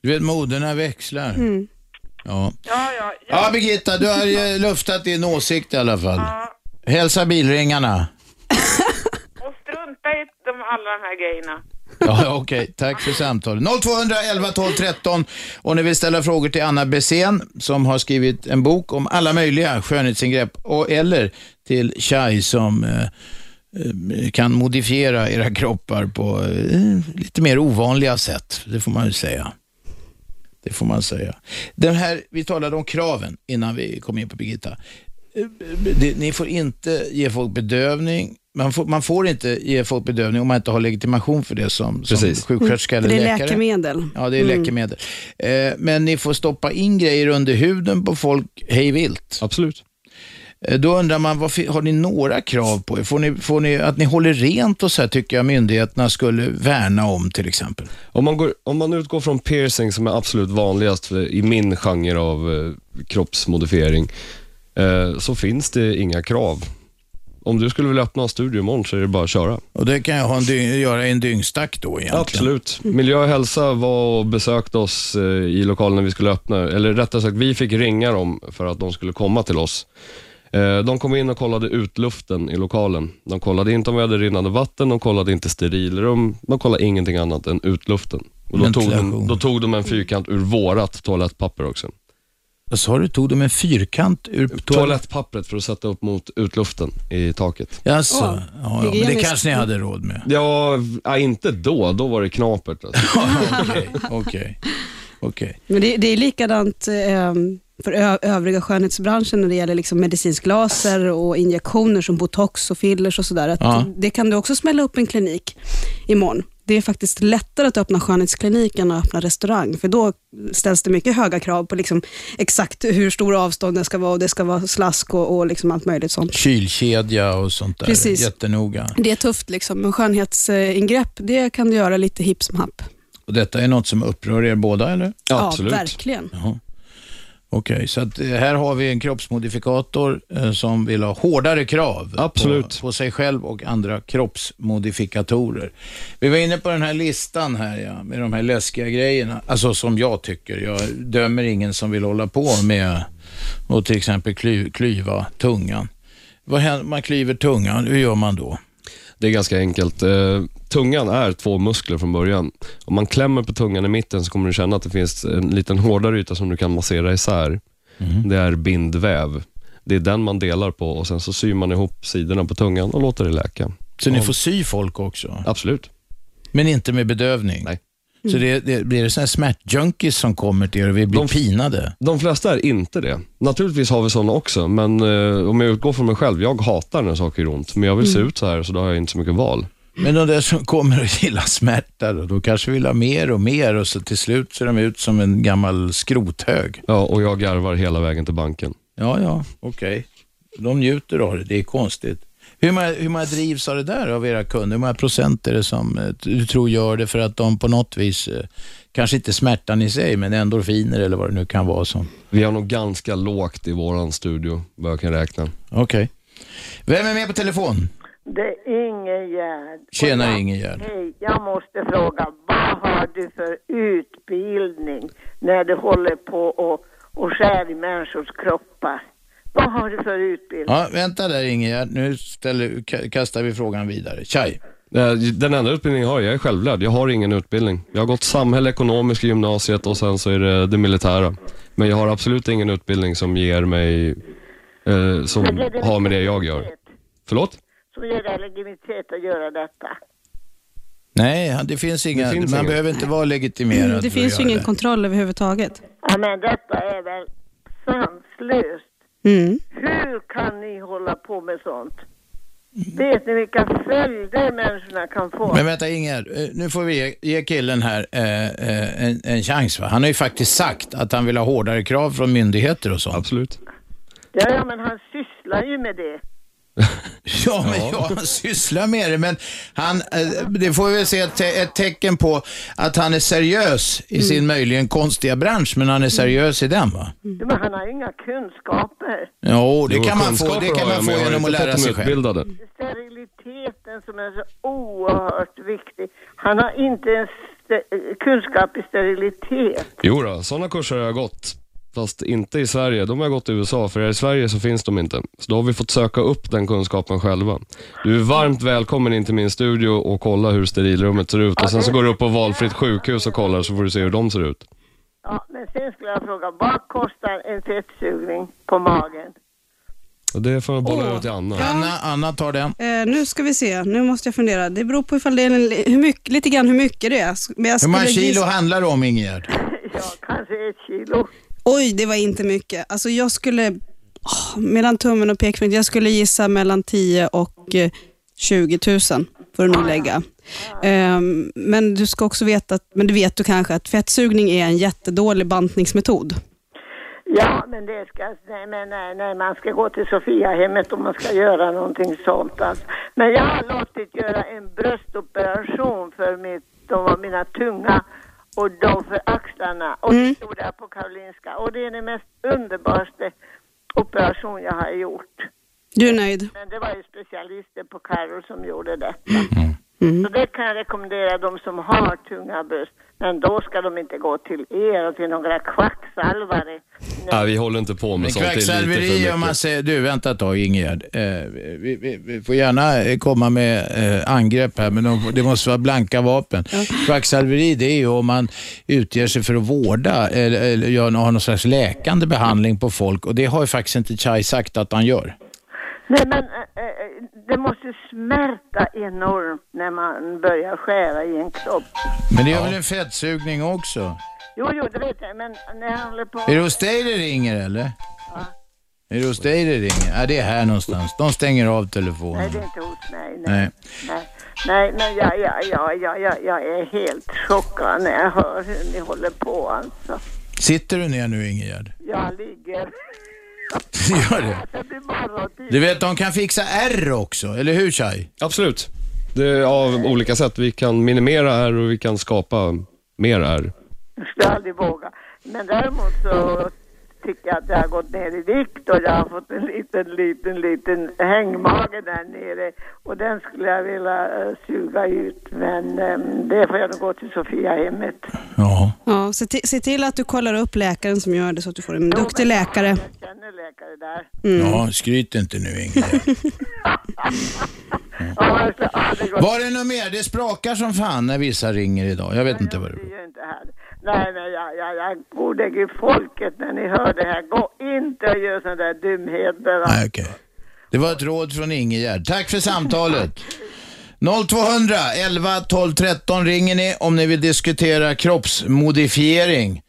Du vet, moderna växlar. Mm. Ja. ja, ja, ja, Birgitta, du har eh, luftat din åsikt i alla fall. Hälsa bilringarna. och strunta i de, alla de här grejerna. Ja, ja, okej. Tack för samtalet. 0211 12 13. Och ni vill ställa frågor till Anna Bessén som har skrivit en bok om alla möjliga skönhetsingrepp. Och, eller till Chai som eh, eh, kan modifiera era kroppar på eh, lite mer ovanliga sätt. Det får man ju säga. Det får man säga. Den här, vi talade om kraven innan vi kom in på Birgitta. Eh, Det, ni får inte ge folk bedövning. Man får, man får inte ge folk bedövning om man inte har legitimation för det som, som sjuksköterska eller För Mm. det är läkare. läkemedel. Ja, det är Mm. läkemedel. Eh, men ni får stoppa in grejer under huden på folk hej vilt. Absolut. Eh, då undrar man, vad fi- har ni några krav på er? Får ni, får ni, att ni håller rent och så här tycker jag myndigheterna skulle värna om till exempel. Om man, går, om man utgår från piercing som är absolut vanligast för, i min genre av eh, kroppsmodifiering, eh, så finns det inga krav. Om du skulle vilja öppna en studio imorgon så är det bara att köra. Och det kan jag ha en dy- göra i en dyngstack då egentligen. Absolut. Miljö och hälsa var och besökte oss eh, i lokalen när vi skulle öppna. Eller rättare sagt, vi fick ringa dem för att de skulle komma till oss. Eh, De kom in och kollade utluften i lokalen. De kollade inte om vi hade rinnande vatten, de kollade inte sterilrum, de kollade ingenting annat än utluften. Och då, tog de, Ventilation. då tog de en fyrkant ur vårat toalettpapper också. Vad sa du? Tog de en fyrkant ur toaletten? Toalettpappret för att sätta upp mot utluften i taket. Jaså? Ja. ja, ja, men det Hygieniskt. kanske ni hade råd med. Ja, ja, inte då. Då var det knapert. Alltså. Okej, okej. okej. Men det, det är likadant eh, för ö- övriga skönhetsbranschen när det gäller liksom medicinsk laser och injektioner som botox och fillers och sådär. Att Ja. Det kan du också smälla upp en klinik imorgon. Det är faktiskt lättare att öppna skönhetsklinik än att öppna restaurang, för då ställs det mycket höga krav på liksom exakt hur stora avstånden ska vara och det ska vara slask och, och liksom allt möjligt sånt. Kylkedja och sånt där. Precis. Jättenoga. Det är tufft, liksom. men skönhetsingrepp det kan du göra lite hipp som happ. Och detta är något som upprör er båda, eller? Ja, verkligen. Okej, så att eh, här har vi en kroppsmodifikator eh, som vill ha hårdare krav Absolut. På, på sig själv och andra kroppsmodifikatorer. Vi var inne på den här listan här, ja, med de här läskiga grejerna. Alltså som jag tycker. Jag dömer ingen som vill hålla på med att till exempel kly, klyva tungan. Vad händer, man klyver tungan, hur gör man då? Det är ganska enkelt. Eh, tungan är två muskler från början. Om man klämmer på tungan i mitten så kommer du känna att det finns en liten hårdare yta som du kan massera isär. Mhm. Det är bindväv. Det är den man delar på och sen så syr man ihop sidorna på tungan och låter det läka. Så ni får sy folk också, Absolut. men inte med bedövning? Nej. Så det, det, blir det sådana smärtjunkies som kommer till er och vill bli Mm. De- pinade? De flesta är inte det. Naturligtvis har vi sådana också, men eh, om jag utgår från mig själv, jag hatar när saker gör ont, men jag vill se Mm. ut så här så då har jag inte så mycket val. Men de där som kommer och gillar smärta då, då kanske vill ha mer och mer och så till slut ser de ut som en gammal skrothög. Ja, och jag garvar hela vägen till banken. Ja, ja, okej. De njuter av det, det är konstigt. Hur många, hur många drivs av det där av era kunder? Hur många procent är det som eh, du tror gör det för att de på något vis, eh, kanske inte smärtan i sig, men endorfiner eller vad det nu kan vara som. Vi har nog ganska lågt i våran studio, vad jag kan räkna. Okej. Vem är med på telefon? Det är Ingegärd. Tjena Ingegerd. Hej, jag måste fråga, vad har du för utbildning när du håller på och, och skär i människors kroppar? Vad har du för utbildning? Ja, vänta där Ingegerd, nu ställer, ka- kastar vi frågan vidare. Tjaj. Eh, Den enda utbildningen jag har, jag är självlärd. Jag har ingen utbildning. Jag har gått samhälle, ekonomisk i gymnasiet och sen så är det det militära. Men jag har absolut ingen utbildning som ger mig, eh, som Men ger det har med det jag gör. legitimitet? Förlåt? Som ger dig legitimitet att göra detta. Nej, det finns inga. finns man inga. behöver inte vara legitimerad för Mm, Det att finns ju göra ingen det. kontroll överhuvudtaget. Ja, men detta är väl sanslöst. Mm. Hur kan ni hålla på med sånt? Vet ni vilka följder människorna kan få? Mm. Men vänta Ingegerd, eh, nu får vi ge, ge killen här eh, eh, en, en chans. Va? Han har ju faktiskt sagt att han vill ha hårdare krav från myndigheter och sånt. Absolut. Ja, ja, men han sysslar ju med det. Ja, men ja, han sysslar med det. Men han, eh, det får vi väl se ett, te- ett tecken på att han är seriös i Mm. sin möjligen konstiga bransch, men han är seriös i den va? Ja, Men han har ju inga kunskaper. Jo, det Jo, kan man få, kunskaper det har kan man jag, få men jag har genom inte att fått lära dem sig själv. utbildade. Steriliteten som är så oerhört viktig. Han har inte ens ste- kunskap i sterilitet. Jo då, sådana kurser har jag gått. Fast inte i Sverige. De har jag gått i USA, för här i Sverige så finns de inte. Så då har vi fått söka upp den kunskapen själva. Du är varmt välkommen in till min studio och kolla hur sterilrummet ser ut. Och sen så går du upp på valfritt sjukhus och kollar så får du se hur de ser ut. Ja, men sen skulle jag fråga, vad kostar en fettsugning på magen? Och det får jag bolla över till Anna. Anna, Anna tar den. Eh, nu ska vi se, nu måste jag fundera. Det beror på ifall det är en, hur mycket, lite grann hur mycket det är. Men jag Hur många skulle kilo gissa- handlar det om Ingegerd? Ja, kanske ett kilo. Oj, det var inte mycket. Alltså jag skulle, åh, mellan tummen och pekfingret, jag skulle gissa mellan 10 och eh, 20 000 får du nog lägga. Ehm, men du ska också veta, att, men du vet du kanske, att fettsugning är en jättedålig bantningsmetod. Ja, men det ska, nej, men nej, nej, man ska gå till Sofiahemmet om man ska göra någonting sånt alltså. Men jag har låtit göra en bröstoperation för mitt, de var mina tunga och de för axlarna och det stod där på Karolinska och det är den mest underbaraste operation jag har gjort. Du är nöjd? Men det var ju specialister på Karo som gjorde detta. Så det kan jag rekommendera de som har tunga bröst. Men då ska de inte gå till er och till några kvacksalvare. Nej, vi håller inte på med sånt. Det är lite för Kvacksalveri om man mycket. säger, du vänta ett tag Ingegerd. Eh, vi, vi, vi får gärna eh, komma med eh, angrepp här men de, det måste vara blanka vapen. Kvacksalveri det är ju om man utger sig för att vårda eller, eller gör, har någon slags läkande behandling på folk och det har ju faktiskt inte Chai sagt att han gör. Nej men eh, eh, det måste smärta enormt när man börjar skära i en kropp. Men det är väl en fettsugning också? Jo, jo, det vet jag, men när jag håller på... Är det hos dig det ringer eller? Är det hos dig det ringer? Ja, det är här någonstans. De stänger av telefonen. Nej, det är inte hos mig. Nej, Nej. nej. nej men jag, jag, jag, jag, jag, jag är helt chockad när jag hör hur ni håller på alltså. Sitter du ner nu Ingegerd? Jag ligger... Gör det. Jag blir bara Du vet, de kan fixa R också, eller hur Chai? Absolut. Det är av olika sätt. Vi kan minimera här och vi kan skapa mer här. Jag skulle aldrig våga. Men däremot så tycker jag att jag har gått ner i vikt och jag har fått en liten, liten, liten hängmage där nere. Och den skulle jag vilja eh, suga ut. Men eh, det får jag nog gå till Sofiahemmet. Ja. Ja, se, ti- se till att du kollar upp läkaren som gör det så att du får en duktig läkare. Jag känner läkare där. Mm. Ja, skryt inte nu Ingegerd. alltså, Var det något mer? Det sprakar som fan när vissa ringer idag. Jag vet inte vad det Det är ju inte här. Nej, nej, jag, jag, jag gode gud folket när ni hör det här. Gå inte och gör sådana där dumheter. va. Nej, okej. Det var ett råd från Ingegerd. Tack för samtalet. 0200 11 12 13 ringer ni om ni vill diskutera kroppsmodifiering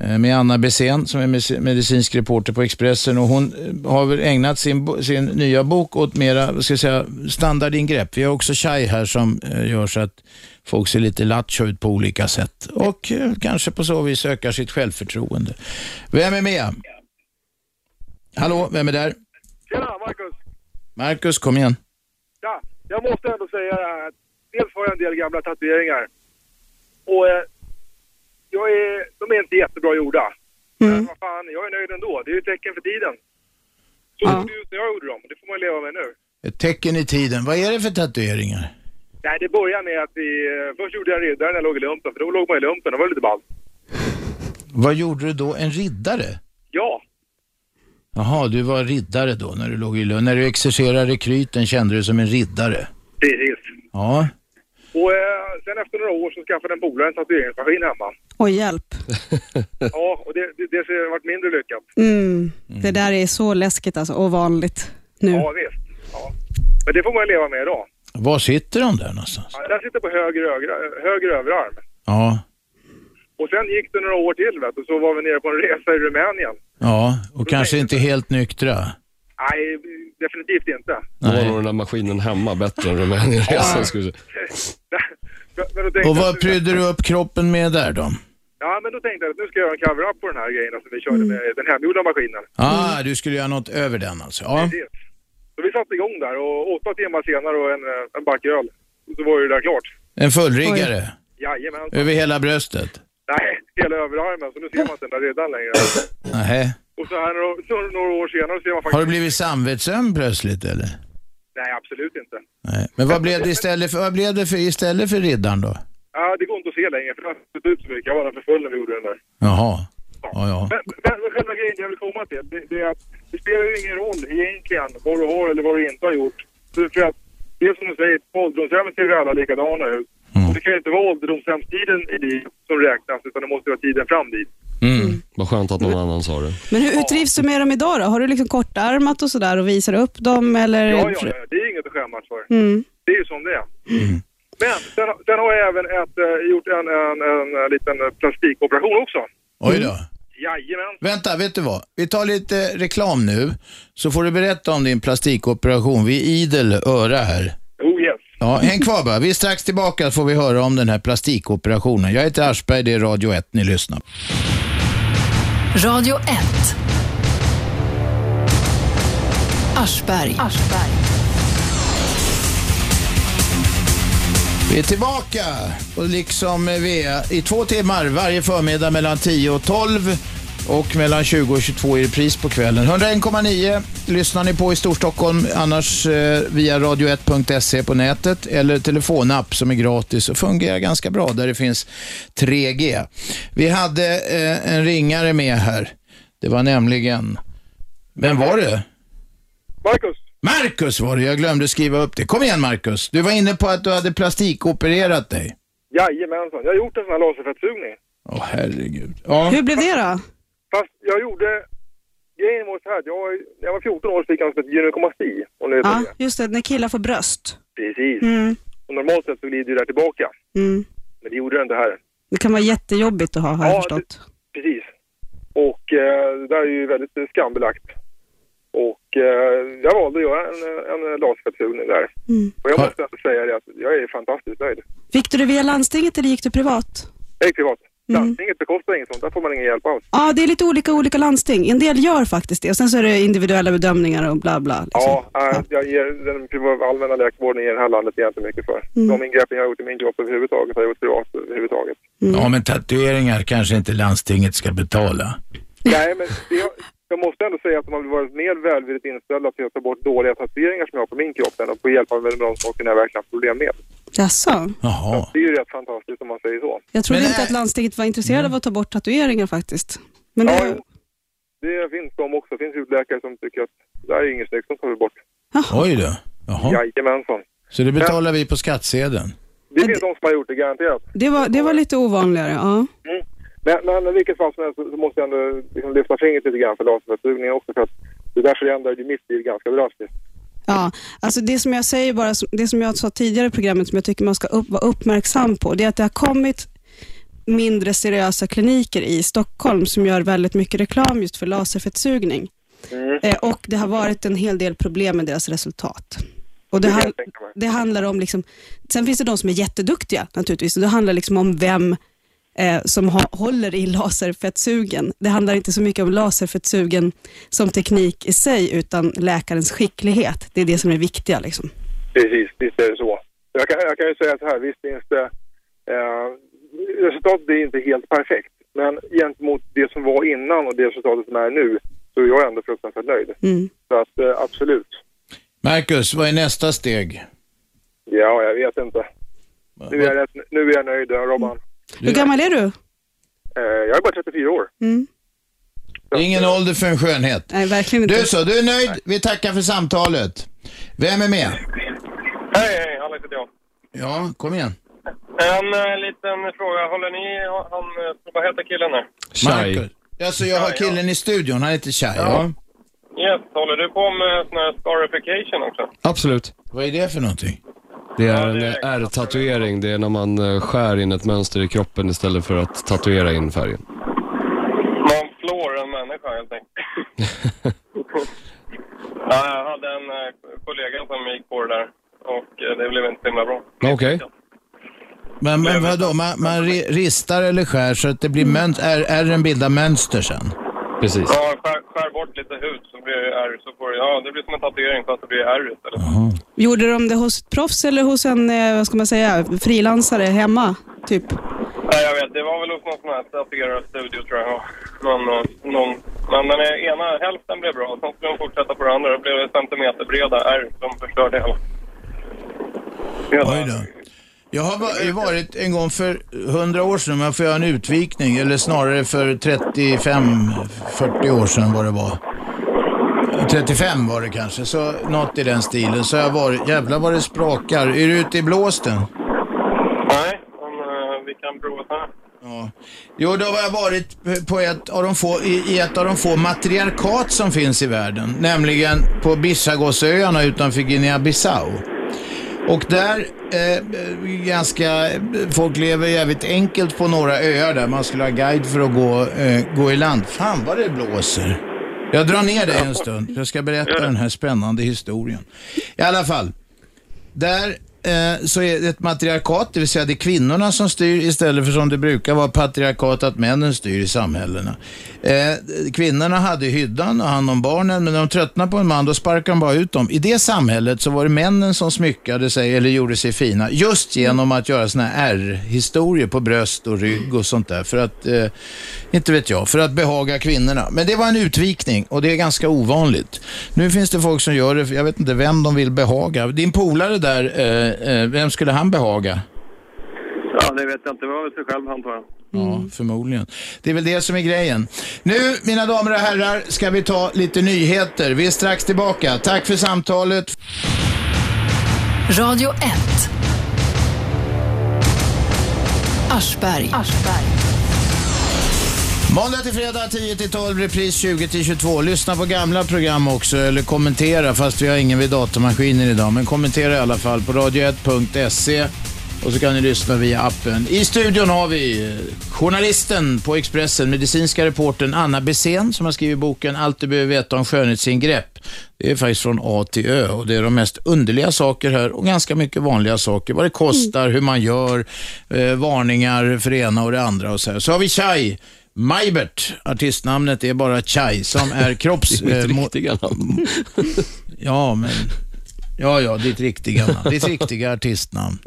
eh, med Anna Bessén som är medic- medicinsk reporter på Expressen och hon eh, har väl ägnat sin, bo- sin nya bok åt mera vad ska jag säga, standardingrepp. Vi har också Chai här som eh, gör så att folk ser lite lattjo ut på olika sätt och eh, kanske på så vis ökar sitt självförtroende. Vem är med? Hallå, vem är där? Tjena, Marcus. Marcus, kom igen. Ja, jag måste ändå säga det här. att Dels har jag en del gamla tatueringar. Och eh, jag är, de är inte jättebra gjorda. Men vad fan, jag är nöjd ändå. Det är ju ett tecken för tiden. Så såg det ut när jag gjorde dem. Det får man leva med nu. Ett tecken i tiden. Vad är det för tatueringar? Nej, det började med att vi... eh, Först gjorde jag riddare när jag låg i lumpen, för då låg man i lumpen. Det var lite ballt. Vad gjorde du då? En riddare? Ja, Jaha, du var riddare då när du låg i lön. När du exercerade kryten kände du dig som en riddare? precis. Ja. Och eh, sen efter några år så skaffade en polare en tatueringsmaskin hemma. Och hjälp. Ja, och det, det, det har varit mindre lyckat. Mm. Det där är så läskigt alltså, och vanligt nu. Ja, visst. Ja. Men det får man leva med idag. Var sitter de där någonstans? Ja, Den sitter på höger, ögra- höger överarm. Ja. Och sen gick det några år till vet du, så var vi nere på en resa i Rumänien. Ja, och kanske inte helt nyktra. Nej, definitivt inte. Då var nog den där maskinen hemma bättre än Rumänienresan. skulle jag säga. Men då tänkte Och jag vad att- prydde du upp kroppen med där då? Ja, men då tänkte jag att nu ska jag göra en cover-up på den här grejen som vi Mm. körde med den hemgjorda maskinen. Ah, du skulle göra något över den alltså? Ja. Precis. Så vi satte igång där och åtta timmar senare och en, eh, en backöl. Så var ju det där klart. En fullriggare? Jajamän. Över hela bröstet? Nej, hela överarmen. Så nu ser man inte den där riddaren längre. Nähä. Och så här några, så några år senare så ser man faktiskt... Har det blivit samvetsömn plötsligt eller? Nej, absolut inte. Nej. Men vad blev det istället för, vad blev det för, istället för riddaren då? Ja, det går inte att se längre för det har sett ut så mycket. Jag var där för full när vi gjorde den där. Jaha. Ja, ja. Men, men, men själva grejen jag vill komma till, det, det är att det spelar ju ingen roll egentligen vad du har eller vad du inte har gjort. För, för att det är som du säger, på ålderdomshemmet ser vi alla likadana ut. Och det kan ju inte vara ålderdomshemstiden i livet som räknas utan det måste vara tiden fram dit. Mm. Vad skönt att någon annan sa det. Men hur, hur trivs du med dem idag då? Har du liksom kortarmat och sådär och visar upp dem? Eller? Ja, ja, ja, det är inget att skämmas för. Mm. Det är ju som det är. Men sen, sen har jag även ett, eh, gjort en, en, en, eh, liten eh, plastikoperation också. Oj då. Jajamän. Vänta, vet du vad? Vi tar lite reklam nu, så får du berätta om din plastikoperation. Vi är idel öra här. Oh yes. Ja, häng kvar bara. Vi är strax tillbaka så får vi höra om den här plastikoperationen. Jag heter Aschberg, det är Radio 1 ni lyssnar på. Radio 1. Aschberg. Vi är tillbaka, och liksom vi är i två timmar varje förmiddag mellan 10 och 12. Och mellan 20 och 22 är det pris på kvällen. 101,9 lyssnar ni på i Storstockholm. Annars eh, via radio1.se på nätet eller telefonapp som är gratis och fungerar ganska bra där det finns 3G. Vi hade eh, en ringare med här. Det var nämligen... Vem var det? Marcus. Marcus var det. Jag glömde skriva upp det. Kom igen Marcus. Du var inne på att du hade plastikopererat dig. Jajamensan, jag har gjort en sån här laserfettsugning. Åh herregud. Ja. Hur blev det då? Fast jag gjorde... Grejen var så här, jag, var- när jag var 14 år så fick jag något som heter gynekomasti. Om ni vet vad Ja, det är. just det, när killar får bröst. Precis. Mm. Och normalt sett så glider ju det här tillbaka. Mm. Men det gjorde det inte här. Det kan vara jättejobbigt att ha, har jag förstått. det- precis. Och eh, det där är ju väldigt eh, skambelagt. Och eh, jag valde att göra en, eh, en laserfettsugning där. Mm. Och jag måste ändå säga det att jag är fantastiskt nöjd. Fick du det via landstinget eller gick du privat? Jag är privat. Mm. Landstinget bekostar inget sånt, där får man ingen hjälp alls. Ja, det är lite olika olika landsting. En del gör faktiskt det och sen så är det individuella bedömningar och bla bla. Liksom. Ja, nej, jag ger den priva- allmänna läkarvården i det här landet är jag inte mycket för. Mm. De ingreppen jag har gjort i min kropp överhuvudtaget har jag gjort privat överhuvudtaget. Mm. Ja, men tatueringar kanske inte landstinget ska betala. Nej, men det, jag måste ändå säga att de har varit mer välvilligt inställda till att ta bort dåliga tatueringar som jag har på min kropp än att få hjälpa mig med de sakerna jag verkligen har problem med. Jaså? Jaha. eh, Det är ju rätt fantastiskt om man säger så. Jag trodde inte att landstinget var intresserade Mm. av att ta bort tatueringar faktiskt. Men det, Ja, jo. det finns de också. Det finns hudläkare som tycker att det här är inget snyggt, som tar vi bort. Oj då. Jaha. Jajamensan. Så det betalar vi på skattsedeln? Det finns de som har gjort det, garanterat. det, var, det var lite ovanligare, ja. Mm. Men, men i vilket fall som helst så så måste jag ändå liksom lyfta fingret lite grann för laserfettsugningen också för att det där förändrade ju mitt liv ganska drastiskt. Ja, alltså det som jag säger bara, det som jag sa tidigare i programmet som jag tycker man ska upp, vara uppmärksam på, det är att det har kommit mindre seriösa kliniker i Stockholm som gör väldigt mycket reklam just för laserfettsugning. Eh, och det har varit en hel del problem med deras resultat. Och det, han, det handlar om, liksom, sen finns det de som är jätteduktiga naturligtvis, och det handlar liksom om vem eh, som ha, håller i laserfettsugen. Det handlar inte så mycket om laserfettsugen som teknik i sig, utan läkarens skicklighet. Det är det som är viktiga. Liksom. Precis, visst är det så. Jag kan, jag kan ju säga så här, visst finns det... Eh, resultatet är inte helt perfekt, men gentemot det som var innan och det resultatet som är nu så är jag ändå fruktansvärt nöjd. Mm. Så att eh, absolut. Marcus, vad är nästa steg? Ja, jag vet inte. Nu är jag, rätt, nu är jag nöjd, Robban. Hur gammal är du? Eh, jag är bara 34 år. Mm. Det är ingen ålder för en skönhet. Nej, verkligen inte. Du så, du är nöjd. Vi tackar för samtalet. Vem är med? Hej, hej, Alex heter jag. Ja, kom igen. En eh, liten fråga. Håller ni, han, eh, vad heter killen här? Marcus. Alltså jag har killen i studion, han heter Chai. Ja. Yes, håller du på med sån här scarification också? Absolut. Vad är det för någonting? Det är en eh, ärrtatuering. Det är när man eh, skär in ett mönster i kroppen istället för att tatuera in färgen. Man flår en människa helt enkelt. ja, jag hade en eh, kollega som gick på det där och eh, det blev inte så himla bra. Okej. Men, men vadå, man, man ri- ristar eller skär så att det blir mönster, är, ärren bildar mönster sen? Precis. Ja, skär, skär bort lite hud så blir det ärr. Så får det, ja, det blir som en tatuering fast det blir ärr istället. Gjorde de det hos ett proffs eller hos en eh, vad ska man säga, frilansare hemma? Typ. Nej, jag vet. Det var väl hos någon sån här tatuerarstudio tror jag. Men, eh, någon, men den ena hälften blev bra, sen skulle de fortsätta på den andra. Då blev det centimeterbreda ärr som förstörde hela. Oj då. Jag har va- ju varit en gång för 100 år sedan, man får göra en utvikning, eller snarare för 35-40 år sedan vad det var. 35 var det kanske, så något i den stilen. Så jag har varit, jävlar vad det sprakar. Är du ute i blåsten? Nej, men eh, vi kan prova så här. Ja. Jo, då har jag varit p- på ett av de få, i, i ett av de få matriarkat som finns i världen, nämligen på Bissagosöarna utanför Guinea-Bissau. Och där, eh, ganska, folk lever jävligt enkelt på några öar där. Man skulle ha guide för att gå, eh, gå i land. Fan vad det blåser. Jag drar ner dig en stund. Jag ska berätta den här spännande historien. I alla fall, där eh, så är det ett matriarkat, det vill säga det är kvinnorna som styr istället för som det brukar vara patriarkat att männen styr i samhällena. Eh, kvinnorna hade hyddan och hand om barnen, men när de tröttnade på en man då sparkade de bara ut dem. I det samhället så var det männen som smyckade sig eller gjorde sig fina just genom att göra såna här ärrhistorier på bröst och rygg och sånt där för att, eh, inte vet jag, för att behaga kvinnorna. Men det var en utvikning och det är ganska ovanligt. Nu finns det folk som gör det, jag vet inte vem de vill behaga. Din polare där, eh, eh, vem skulle han behaga? Ja, det vet jag inte. Det var väl sig själv antar jag. Ja, förmodligen. Det är väl det som är grejen. Nu, mina damer och herrar, ska vi ta lite nyheter. Vi är strax tillbaka. Tack för samtalet. Radio 1. Aschberg. Måndag till fredag 10 till 12, repris 20 till 22. Lyssna på gamla program också, eller kommentera, fast vi har ingen vid datamaskinen idag. Men kommentera i alla fall på radio1.se och så kan ni lyssna via appen. I studion har vi eh, journalisten på Expressen, medicinska reportern Anna Besen som har skrivit boken Allt du behöver veta om skönhetsingrepp. Det är faktiskt från A till Ö och det är de mest underliga saker här och ganska mycket vanliga saker. Vad det kostar, hur man gör, eh, varningar för det ena och det andra och så här. Så har vi Chai. Majbert, artistnamnet är bara Chai som är kropps... Det är mitt riktiga namn. ja, men... Ja, ja, ditt riktiga namn. Ditt riktiga artistnamn.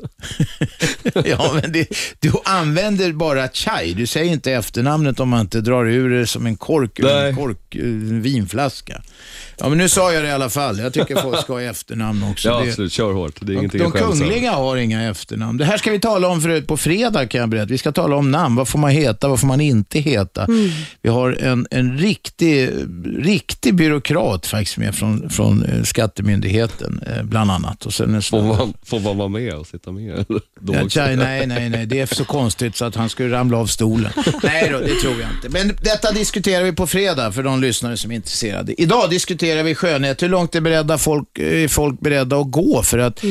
ja, men det, du använder bara Chai. Du säger inte efternamnet om man inte drar ur det som en kork ur en kork, eh, vinflaska. Ja, men nu sa jag det i alla fall. Jag tycker folk ska ha efternamn också. Ja, Det- absolut. Kör hårt. Det är ingenting de att skämmas över. kungliga har inga efternamn. Det här ska vi tala om förut på fredag kan jag berätta. Vi ska tala om namn. Vad får man heta? Vad får man inte heta? Mm. Vi har en, en riktig, riktig byråkrat faktiskt med från, från eh, Skattemyndigheten eh, bland annat. Och sen en Får man, får man vara med och sitta med? eller? Då Ja, också. tjej, nej, nej, nej. Det är så konstigt så att han skulle ramla av stolen. nej då, det tror jag inte. Men detta diskuterar vi på fredag för de lyssnare som är intresserade. Idag diskuterar vi skönhet. Hur långt är, beredda folk, är folk beredda att gå för att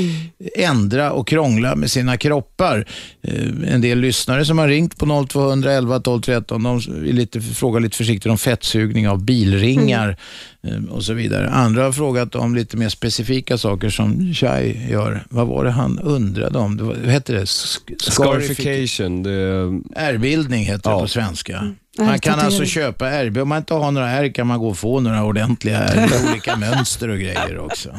ändra och krångla med sina kroppar? Eh, En del lyssnare som har ringt på 0200 11 12 13, de är lite, frågar lite försiktigt om fettsugning av bilringar eh, och så vidare. Andra har frågat om lite mer specifika saker som Chai gör. Vad var det han undrade om? Det var, vad hette det? Sk- Scarification. Det är... Ärrbildning heter det på svenska. Man kan Ärrtatuering. alltså köpa ärr. Om man inte har några ärr kan man gå och få några ordentliga ärr med olika mönster och grejer också.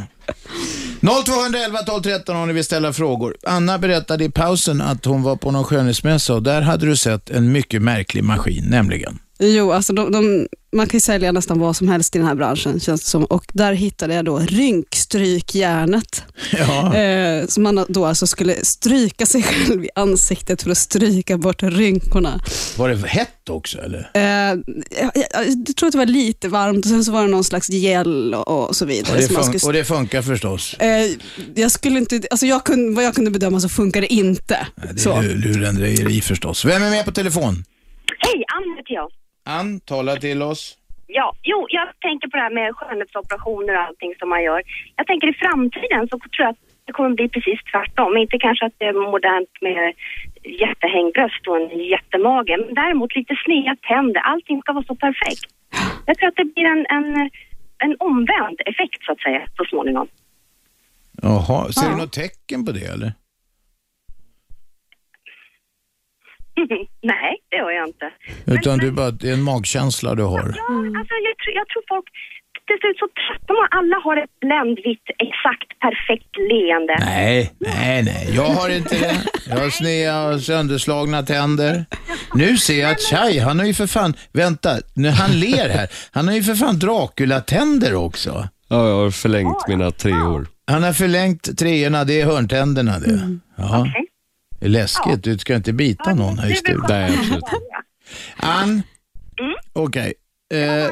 0211 12 13 om ni vill ställa frågor. Anna berättade i pausen att hon var på någon skönhetsmässa och där hade du sett en mycket märklig maskin, nämligen. Jo, alltså de, de, man kan ju sälja nästan vad som helst i den här branschen känns det som. Och där hittade jag då rynkstrykjärnet. Ja. Eh, som man då alltså skulle stryka sig själv i ansiktet för att stryka bort rynkorna. Var det hett också eller? Eh, jag, jag, jag tror att det var lite varmt och sen så var det någon slags gel och, och så Och vidare. det, som man skulle fun- och det funkar förstås. Eh, jag skulle inte, alltså jag kunde, vad jag kunde bedöma så funkar det inte. Det så. är lu- lurendrejeri förstås. Vem är med på telefon? Hej, Ann heter jag. Ann, tala till oss. Ja, jo, jag tänker på det här med skönhetsoperationer och allting som man gör. Jag tänker i framtiden så tror jag att det kommer bli precis tvärtom. Inte kanske att det är modernt med jättehängbröst och en jättemage, men däremot lite sneda tänder. Allting ska vara så perfekt. Jag tror att det blir en, en, en omvänd effekt så att säga så småningom. Jaha, ser du Ja. något tecken på det eller? Nej, det gör jag inte. Utan du bara, det är en magkänsla du har. Ja, alltså jag, tror- jag tror folk... Till slut så tröttnar man. Alla har ett bländvitt, exakt perfekt leende. Nej, nej, nej. Jag har inte det. Jag har sneda och sönderslagna tänder. Nu ser jag att Chai, han har ju för fan, vänta, nu han ler här. Han har ju för fan Dracula-tänder också. Ja, jag har förlängt mina tre år. Han har förlängt treorna, det är hörntänderna det. Ja. Det är läskigt, du ska inte bita någon här i studion. Nej, absolut Ann, okej. Eh,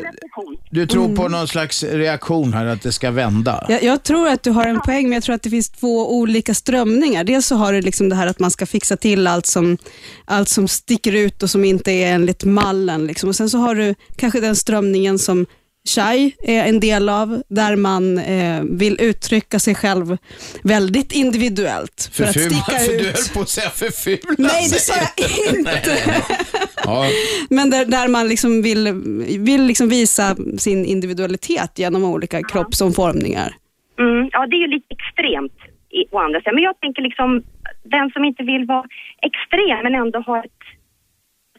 du tror på Mm. någon slags reaktion här, att det ska vända? Jag, jag tror att du har en poäng, men jag tror att det finns två olika strömningar. Dels så har du liksom det här att man ska fixa till allt som, allt som sticker ut och som inte är enligt mallen. Liksom. Och Sen så har du kanske den strömningen som Chai är en del av, där man eh, vill uttrycka sig själv väldigt individuellt för att Förfula- sticka för ut. Alltså, Du höll på att säga förfula Nej, det sa sig. jag inte. Ja, Men där, där man liksom vill, vill liksom visa sin individualitet genom olika kroppsomformningar. Mm, ja, det är ju lite extremt i, å andra sidan. Men jag tänker liksom, den som inte vill vara extrem men ändå har ett,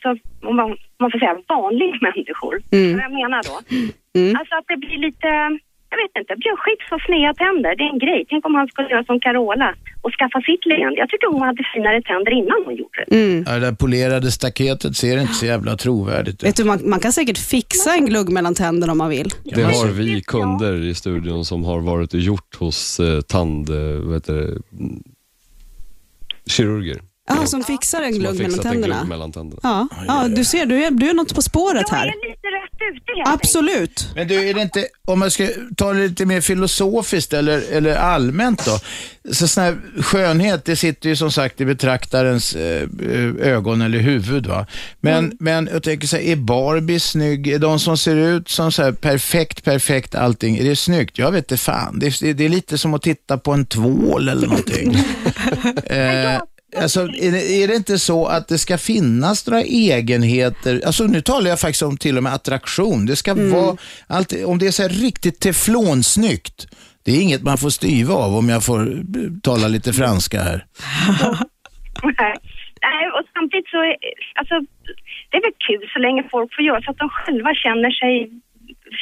alltså, om man, om man får säga vanliga människor, Mm. vad jag menar då. Alltså att det blir lite, jag vet inte, Björn Skifs har sneda tänder, det är en grej. Tänk om han skulle göra som Carola och skaffa sitt leende. Jag tycker hon hade finare tänder innan hon gjorde det. Mm. Ja, det där polerade staketet ser inte så jävla trovärdigt ut. Vet du, man, man kan säkert fixa en glugg mellan tänderna om man vill. Det har vi kunder i studion som har varit och gjort hos eh, tand... Eh, vad heter det? Mm, Kirurger. Ja, som fixar en Som har glugg mellan fixat en tänderna. glugg mellan tänderna. Ja, ja, du ser, du är, du är något på spåret här. Absolut. Men du, är det inte, om man ska ta det lite mer filosofiskt eller, eller allmänt då. Så sån här skönhet, det sitter ju som sagt i betraktarens eh, eh, ögon eller huvud. Va? Men, men jag tänker så här, är Barbie snygg? Är de som ser ut som så här perfekt, perfekt allting, är det snyggt? Jag vet inte fan. Det, är- det är lite som att titta på en tvål eller någonting. Eh, Alltså, är, det, är det inte så att det ska finnas några egenheter? Alltså, nu talar jag faktiskt om till och med attraktion. Det ska Mm. vara, allt, om det är så här riktigt teflonsnyggt, det är inget man får styva av om jag får eh, tala lite franska här. Nej. Nej, och samtidigt så, är- alltså, det är väl kul så länge folk får göra så att de själva känner sig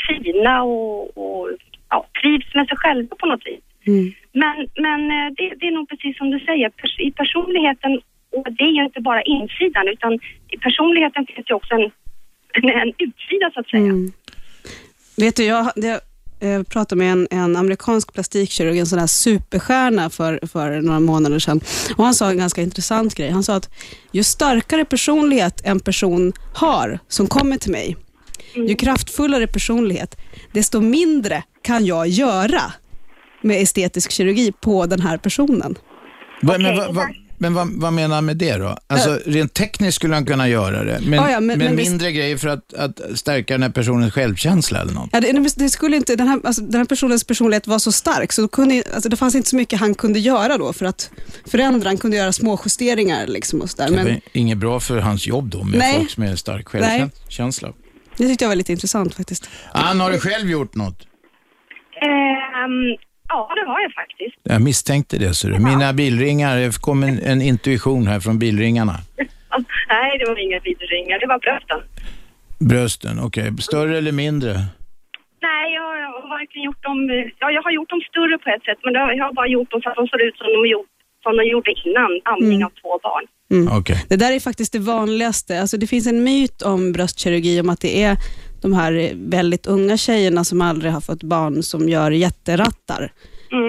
fina och, och ja, trivs med sig själva på något vis. Men, men eh, det, det är nog precis som du säger, pers- i personligheten, och det är ju inte bara insidan, utan i personligheten finns ju också en, en utsida så att säga. Vet du, jag, det, jag pratade med en, en amerikansk plastikkirurg, en sån här superstjärna för, för några månader sedan. Och han sa en ganska intressant grej. Han sa att ju starkare personlighet en person har som kommer till mig, ju kraftfullare personlighet, desto mindre kan jag göra med estetisk kirurgi på den här personen. Va, men va, va, men vad, vad menar han med det då? Alltså, rent tekniskt skulle han kunna göra det, men, Ja, ja, men- men, men visst- mindre grejer för att, att stärka den här personens självkänsla eller något. Ja, det, det skulle inte, den, här, alltså, den här personens personlighet var så stark, så då kunde, alltså, det fanns inte så mycket han kunde göra då för att förändra. Han kunde göra små justeringar liksom och sådär. Det är Men väl inget bra för hans jobb då med Nej. folk som är stark Nej. självkänsla. det tyckte jag var lite intressant faktiskt. Ann, har du själv gjort något? Ehm, ja, det har jag faktiskt. Jag misstänkte det, ser du. Mina bilringar, det kom en, en intuition här från bilringarna. Ja, Nej, det var inga vidringar, det var brösten. Brösten, okej. Större eller mindre? Nej, jag har varken gjort dem... Ja, jag har gjort dem större på ett sätt, men det har- jag har bara gjort dem så att de ser ut som de, gjort, som de gjorde innan amning av två barn. Mm. Okay. Det där är faktiskt det vanligaste. Alltså, det finns en myt om bröstkirurgi om att det är de här eh, väldigt unga tjejerna som aldrig har fått barn som gör jätterattar.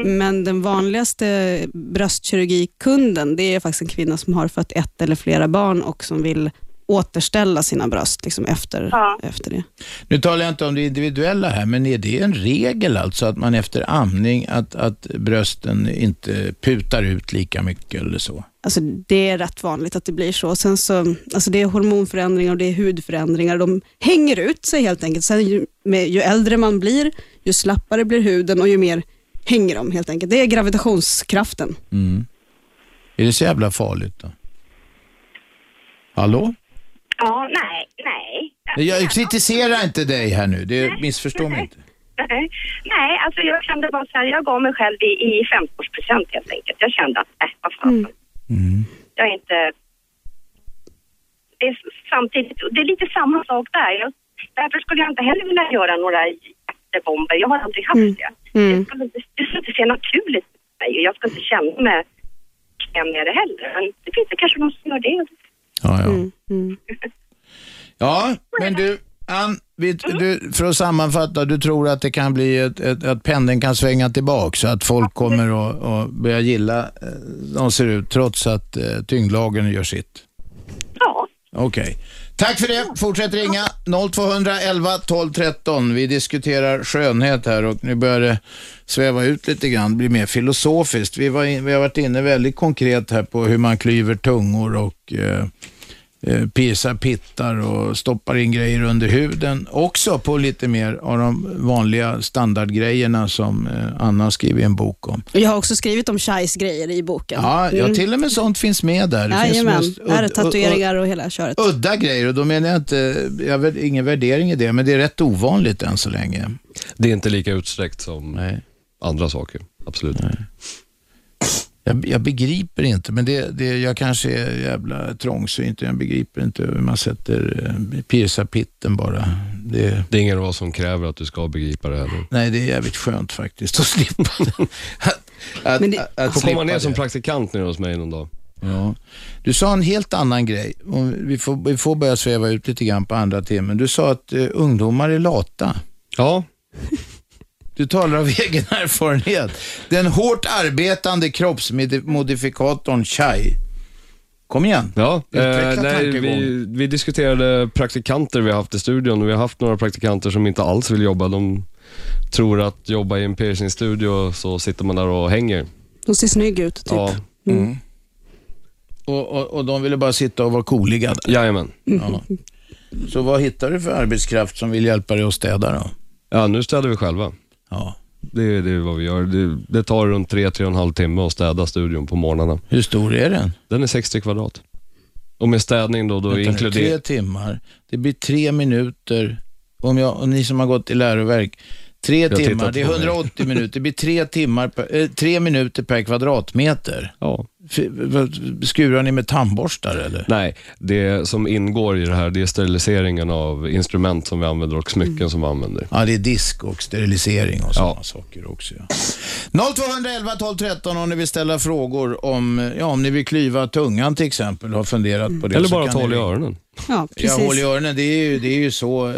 Men den vanligaste bröstkirurgikunden, det är faktiskt en kvinna som har fött ett eller flera barn och som vill återställa sina bröst liksom, efter, efter det. Nu talar jag inte om det individuella här, men är det en regel alltså att man efter amning, att, att brösten inte putar ut lika mycket eller så? Alltså, det är rätt vanligt att det blir så. Sen så alltså, det är hormonförändringar och det är hudförändringar. De hänger ut sig helt enkelt. Sen ju, med, ju äldre man blir, ju slappare blir huden och ju mer hänger de helt enkelt. Det är gravitationskraften. Mm. Är det så jävla farligt då? Hallå? Ja, nej, nej. Jag kritiserar inte dig här nu, det missförstå mig inte. Nej, nej alltså jag kände bara så här, jag gav mig själv i, i 50-årspresent helt enkelt. Jag kände att, nej, vad fan. Jag är inte... Det är samtidigt, det är lite samma sak där. Jag, därför skulle jag inte heller vilja göra några jättebomber. Jag har aldrig haft det. Det skulle, inte- det skulle inte se naturligt ut för mig och jag skulle inte känna mig bekväm med det heller. Men det finns det kanske någon som gör det. Ja, ja. Ja, men du, Ann, vi, du, för att sammanfatta, du tror att det kan bli ett, ett, att pendeln kan svänga tillbaka så att folk kommer att att börja gilla eh, de ser ut trots att eh, tyngdlagen gör sitt? Ja. Okej. Tack för det. Fortsätt ringa 0211 12 13. Vi diskuterar skönhet här och nu börjar det sväva ut lite grann, bli mer filosofiskt. Vi, var in, vi har varit inne väldigt konkret här på hur man klyver tungor och eh, eh, piercar pittar och stoppar in grejer under huden. Också på lite mer av de vanliga standardgrejerna som eh, Anna skriver i en bok om. Jag har också skrivit om tjejs grejer i boken. Mm. Ja, ja, till och med sånt finns med där. Det finns Jajamän, mest udd- här är tatueringar udd- och hela köret. Udda grejer och då menar jag inte, jag har ingen värdering i det, men det är rätt ovanligt än så länge. Det är inte lika utsträckt som andra saker. Absolut. Jag, jag begriper inte, men det, det, jag kanske är jävla trångsynt. Jag begriper inte hur man sätter, eh, piercar pitten bara. Det, det är ingen vad som kräver att du ska begripa det heller. Nej, det är jävligt skönt faktiskt att slippa. att, att, Men det- Får komma ner som praktikant nere hos mig någon dag. Ja. Du sa en helt annan grej. Om Vi får, vi får börja sväva ut lite grann på andra timmen. Du sa att eh, ungdomar är lata. Ja. Du talar av egen erfarenhet. Den hårt arbetande kroppsmodifikatorn Chai. Kom igen. Ja, Eh, nej, vi, vi diskuterade praktikanter vi har haft i studion och vi har haft några praktikanter som inte alls vill jobba. De tror att jobba i en piercingstudio så sitter man där och hänger. De ser snygg ut, typ. Ja. Mm. Och, och, och de ville bara sitta och vara cooligade? Jajamän. Ja. Så vad hittar du för arbetskraft som vill hjälpa dig att städa då? Ja, nu städar vi själva. Ja. Det, det är vad vi gör. Det, det tar runt tre, tre och en halv timme att städa studion på morgnarna. Hur stor är den? Den är 60 kvadrat. Och med städning då, då Vänta nu, Tre inkluderar... timmar, det blir tre minuter. Om jag, och ni som har gått i läroverk, tre Jag tittar timmar, det är på mig. 180 minuter. Det blir tre, timmar per, eh, tre minuter per kvadratmeter. Ja. Skurar ni med tandborstar eller? Nej, det som ingår i det här, det är steriliseringen av instrument som vi använder och smycken som vi använder. Ja, det är disk och sterilisering och sådana saker också. Ja. 0211 12 13 om ni vill ställa frågor om, ja, om ni vill klyva tungan till exempel och har funderat på det. Eller så bara kan ta ni hål i ringa. öronen. Ja, Ja, hål i öronen, det är, ju, det är ju så. eh,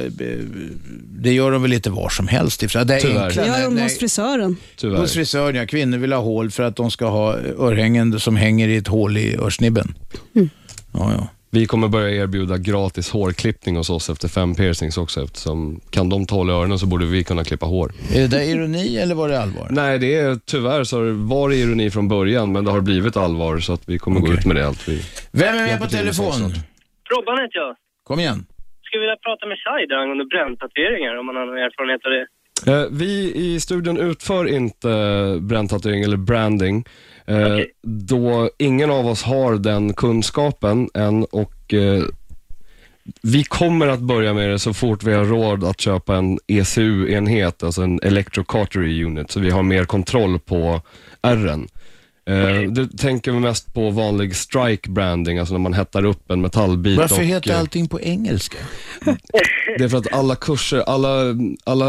Det gör de väl lite var som helst. Det är enkla, Det gör de nej, hos frisören. nej, hos frisören, ja. Kvinnor vill ha hål för att de ska ha örhängen som hänger i ett hål i örsnibben. Vi kommer börja erbjuda gratis hårklippning hos oss efter fem piercings också. Eftersom kan de ta hål i öronen så borde vi kunna klippa hår. Är det där ironi eller var det allvar? Nej, det är, tyvärr så har det- var det ironi från början, men det har blivit allvar så att vi kommer gå ut med det. Allt vi... Vem är med Hjälper på till med sånt telefon? Robban heter jag. Kom igen. Skulle vilja prata med Shai där angående bränntateringar om man har någon erfarenhet av det. Eh, Vi i studion utför inte bränntatering eller branding, eh, då ingen av oss har den kunskapen än och eh, vi kommer att börja med det så fort vi har råd att köpa en ECU-enhet, alltså en Electrocartery Unit, så vi har mer kontroll på R'n. Eh, Du tänker vi mest på vanlig strike branding, alltså när man hettar upp en metallbit. Varför och, heter eh, allting på engelska? det är för att alla kurser, alla, alla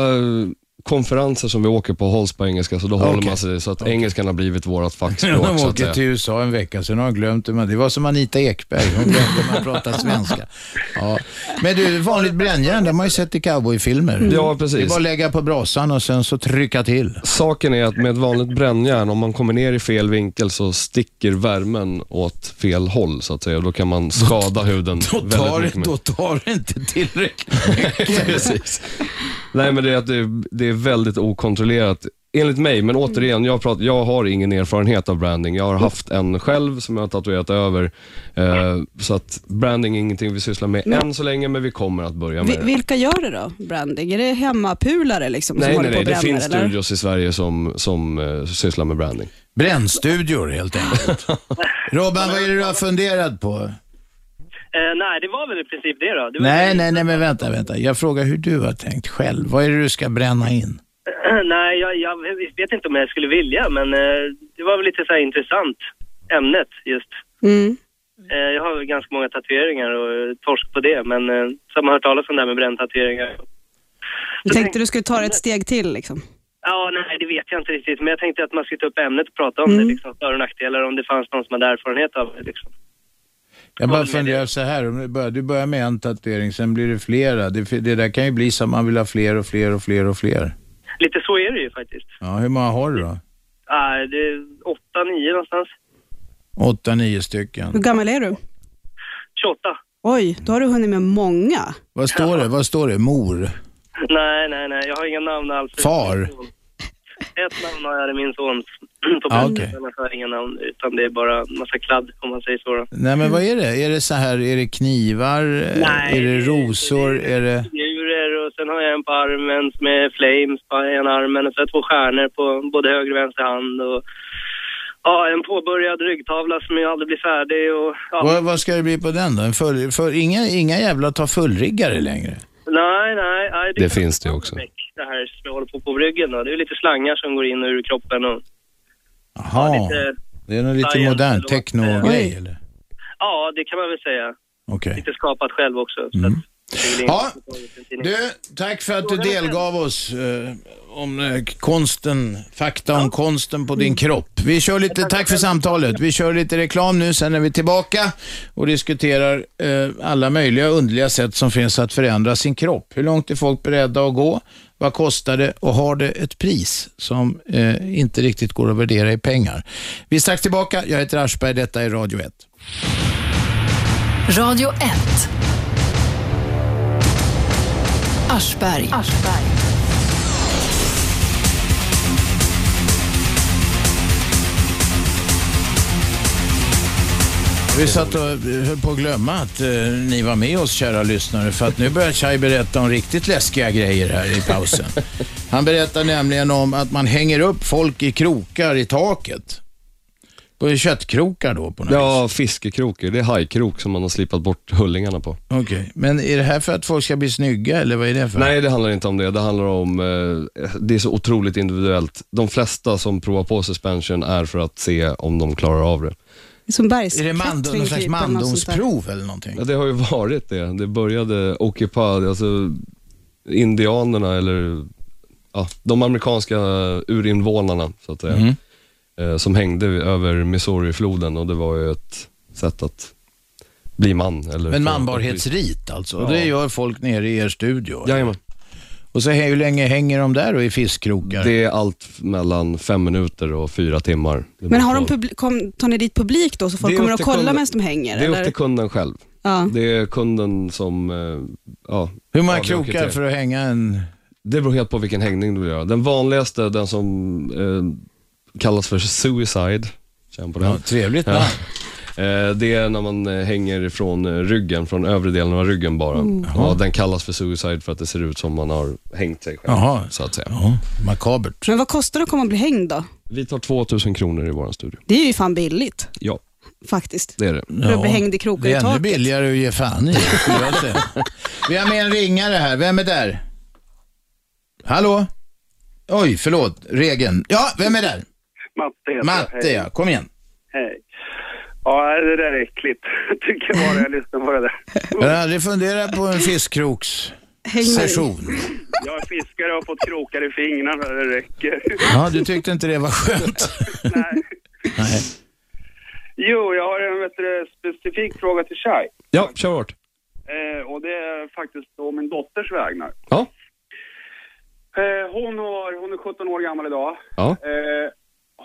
konferenser som vi åker på hålls på engelska, så då håller Okej. man sig så att engelskan har blivit vårt fackspråk. De så att åker säga. till USA en vecka, sen har de glömt hur man... Det var som Anita Ekberg, hon glömde hur man pratar svenska. Ja. Men du, vanligt brännjärn, det har man ju sett i cowboyfilmer. Mm. Ja, precis. Det är bara att lägga på brasan och sen så trycka till. Saken är att med ett vanligt brännjärn, om man kommer ner i fel vinkel så sticker värmen åt fel håll, så att säga. Då kan man skada huden Då väldigt tar, mycket. mer. då tar det inte tillräckligt mycket. Precis. Nej, men det är att det, det är väldigt okontrollerat. Enligt mig, men Mm. återigen, jag, pratar, jag har ingen erfarenhet av branding. Jag har haft en själv som jag har tatuerat över. Eh, så att branding är ingenting vi sysslar med Men- än så länge, men vi kommer att börja med Vi, det. vilka gör det då, branding? Är det hemmapulare liksom, som nej, håller nej, på nej. och Det bränner? finns eller? studios i Sverige som, som eh, sysslar med branding. Brännstudior helt enkelt. Robban, vad är det du har funderat på? Eh, nej, det var väl i princip det då. Det var Nej, nej, nej, men vänta, vänta. Jag frågar hur du har tänkt själv. Vad är det du ska bränna in? nej, jag, jag vet inte om jag skulle vilja, men eh, det var väl lite så här intressant, ämnet just. Mm. Eh, jag har väl ganska många tatueringar och eh, torsk på det, men eh, så har man hört talas om det här med bränntatueringar. Du tänkte du skulle ta det ett steg till liksom? Ja, nej, det vet jag inte riktigt, men jag tänkte att man skulle ta upp ämnet och prata om Mm. det, liksom, för och nackdelar, om det fanns någon som hade erfarenhet av det. Liksom. Jag bara funderar så här, om du börjar, du börjar med en tatuering, sen blir det flera. Det, det där kan ju bli så att man vill ha fler och fler och fler och fler. Lite så är det ju faktiskt. Ja, hur många har du då? Ah, det är åtta, nio någonstans. Åtta, nio stycken. Hur gammal är du? 28. Oj, då har du hunnit med många. Vad står det? Vad står det? Mor? Nej, nej, nej. Jag har inga namn alls. Far? Ett namn har jag, det är min sons. På Ah, bröstet. okej. Annars har jag inga namn, utan det är bara massa kladd, om man säger så. Då. Nej, men vad är det? Är det så här, är det knivar? Nej, är det rosor? Är det... Figurer och sen har jag en på armen som är flames på ena armen och så har jag två stjärnor på både höger och vänster hand och ja, en påbörjad ryggtavla som ju aldrig blir färdig och ja. Vad, vad ska det bli på den då? En full, för, inga, inga jävla ta fullriggare längre. Nej, nej, nej. Det finns det också. Det här som jag håller på på ryggen då. Det är ju lite slangar som går in och ur kroppen och Jaha. lite Det är någon lite Science, modern förlåt. techno-grej Eh, eller? Ja, det kan man väl säga. Okej. Mm. Lite skapat själv också. Så att det är väl Ja, ingen- du, tack för att du delgav oss eh, om eh, konsten, fakta om konsten på din kropp. Vi kör lite, tack för samtalet. Vi kör lite reklam nu, sen är vi tillbaka och diskuterar eh, alla möjliga underliga sätt som finns att förändra sin kropp. Hur långt är folk beredda att gå? Vad kostar det och har det ett pris som eh, inte riktigt går att värdera i pengar? Vi är strax tillbaka. Jag heter Aschberg, detta är Radio 1. Radio 1. Aschberg. Vi satt och eh, höll på att glömma att eh, ni var med oss, kära lyssnare, för att nu börjar Chai berätta om riktigt läskiga grejer här i pausen. Han berättar nämligen om att man hänger upp folk i krokar i taket. På köttkrokar då? På något Ja, fiskekrokar. Det är hajkrok som man har slipat bort hullingarna på. Okej, men är det här för att folk ska bli snygga eller vad är det för? Nej, det handlar inte om det. Det handlar om, eh, det är så otroligt individuellt. De flesta som provar på suspension är för att se om de klarar av det. Som bergsklättring. Är det mando- någon slags typ, eller något sånt där. mandomsprov eller någonting? Ja, det har ju varit det. Det började Occupy, alltså indianerna eller ja, de amerikanska urinvånarna så att säga. Mhm. Eh, som hängde över Missourifloden och det var ju ett sätt att bli man. Eller Men få- manbarhetsrit alltså? Ja. Och Det gör folk nere i er studio? eller? Jajamän. Och så hur länge hänger de där då i fiskkrokar? Det är allt mellan fem minuter och fyra timmar. Det Men har de beror på. publi- kom, tar ni dit publik då, så folk Det är kommer upp att till kolla kunden- medan de hänger? Det är upp eller? till kunden själv. Ja. Det är kunden som, eh, ja. Hur många avgör krokar kriterier. för att hänga en... Det beror helt på vilken hängning du vill göra. Den vanligaste, den som eh, kallas för suicide. Känn på den. Ja, trevligt namn. Eh, Det är när man eh, hänger från eh, ryggen, från övre delen av ryggen bara. Mm. Ja, Jaha. den kallas för suicide för att det ser ut som man har hängt sig själv. Jaha. Så att säga. Ja, makabert. Men vad kostar det att komma och bli hängd då? Vi tar 2000 kronor i vår studio. Det är ju fan billigt Ja, faktiskt. det är det. För att bli hängd i krokar Det är i ännu taket. billigare att ge fan i, skulle jag säga. Vi har med en ringare här. Vem är där? Hallå? Oj, förlåt. Regen. Ja, vem är där? Matte heter Matte, jag. ja. Kom igen. Hej. Ja, det där är äckligt. Tycker jag bara jag lyssnar på det där. Jag har aldrig funderat på en fiskkroks session. Jag är fiskare och har fått krokar i fingrarna för det räcker. Ja, du tyckte inte det var skönt? Nej. Jo, jag har en vet du, specifik fråga till Shai. Ja, kör hårt. Eh, och det är faktiskt å min dotters vägnar. Ja. Eh, hon, har, hon är 17 år gammal idag. Ja. Eh,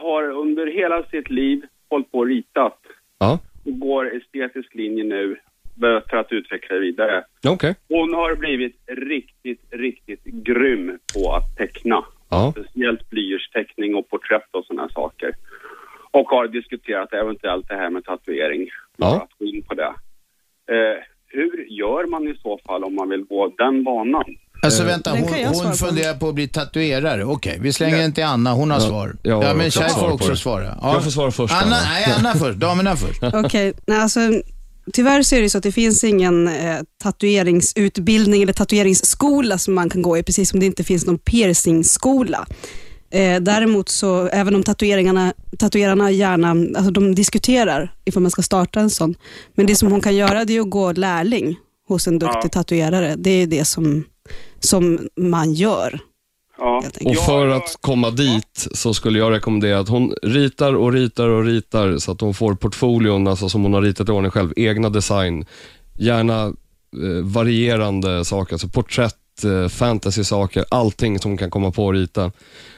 har under hela sitt liv hållit på och ritat. Ja. Och går estetisk linje nu för att utveckla det vidare. Okej. Hon har blivit riktigt, riktigt grym på att teckna. Ja. Speciellt blyertsteckning och porträtt och sådana saker. Och har diskuterat eventuellt det här med tatuering. Ja. Gå in på det. Eh, hur gör man i så fall om man vill gå den banan? Eh, Eh, Alltså vänta, Den hon, kan jag svara hon på. funderar på att bli tatuerare. Okej, vi slänger den till Anna. Hon har Ja, svar. jag har Ja, men också Shai ett svar får på också det. svara. Jag får svara först, Anna, Anna. nej, Anna först. Damerna först. Okej, nej, alltså, tyvärr så är det så att det finns ingen eh, tatueringsutbildning eller tatueringsskola som man kan gå i, precis som det inte finns någon piercingskola. Eh, däremot så, även om tatueringarna, tatuerarna gärna alltså de diskuterar ifall man ska starta en sån, men det som hon kan göra det är att gå lärling hos en duktig Ja. tatuerare. Det är det som, som man gör. Ja. Och för att komma dit så skulle jag rekommendera att hon ritar och ritar och ritar så att hon får portfolion, alltså som hon har ritat i ordning själv, egna design, gärna eh, varierande saker, alltså porträtt, eh, fantasy-saker, allting som hon kan komma på att rita.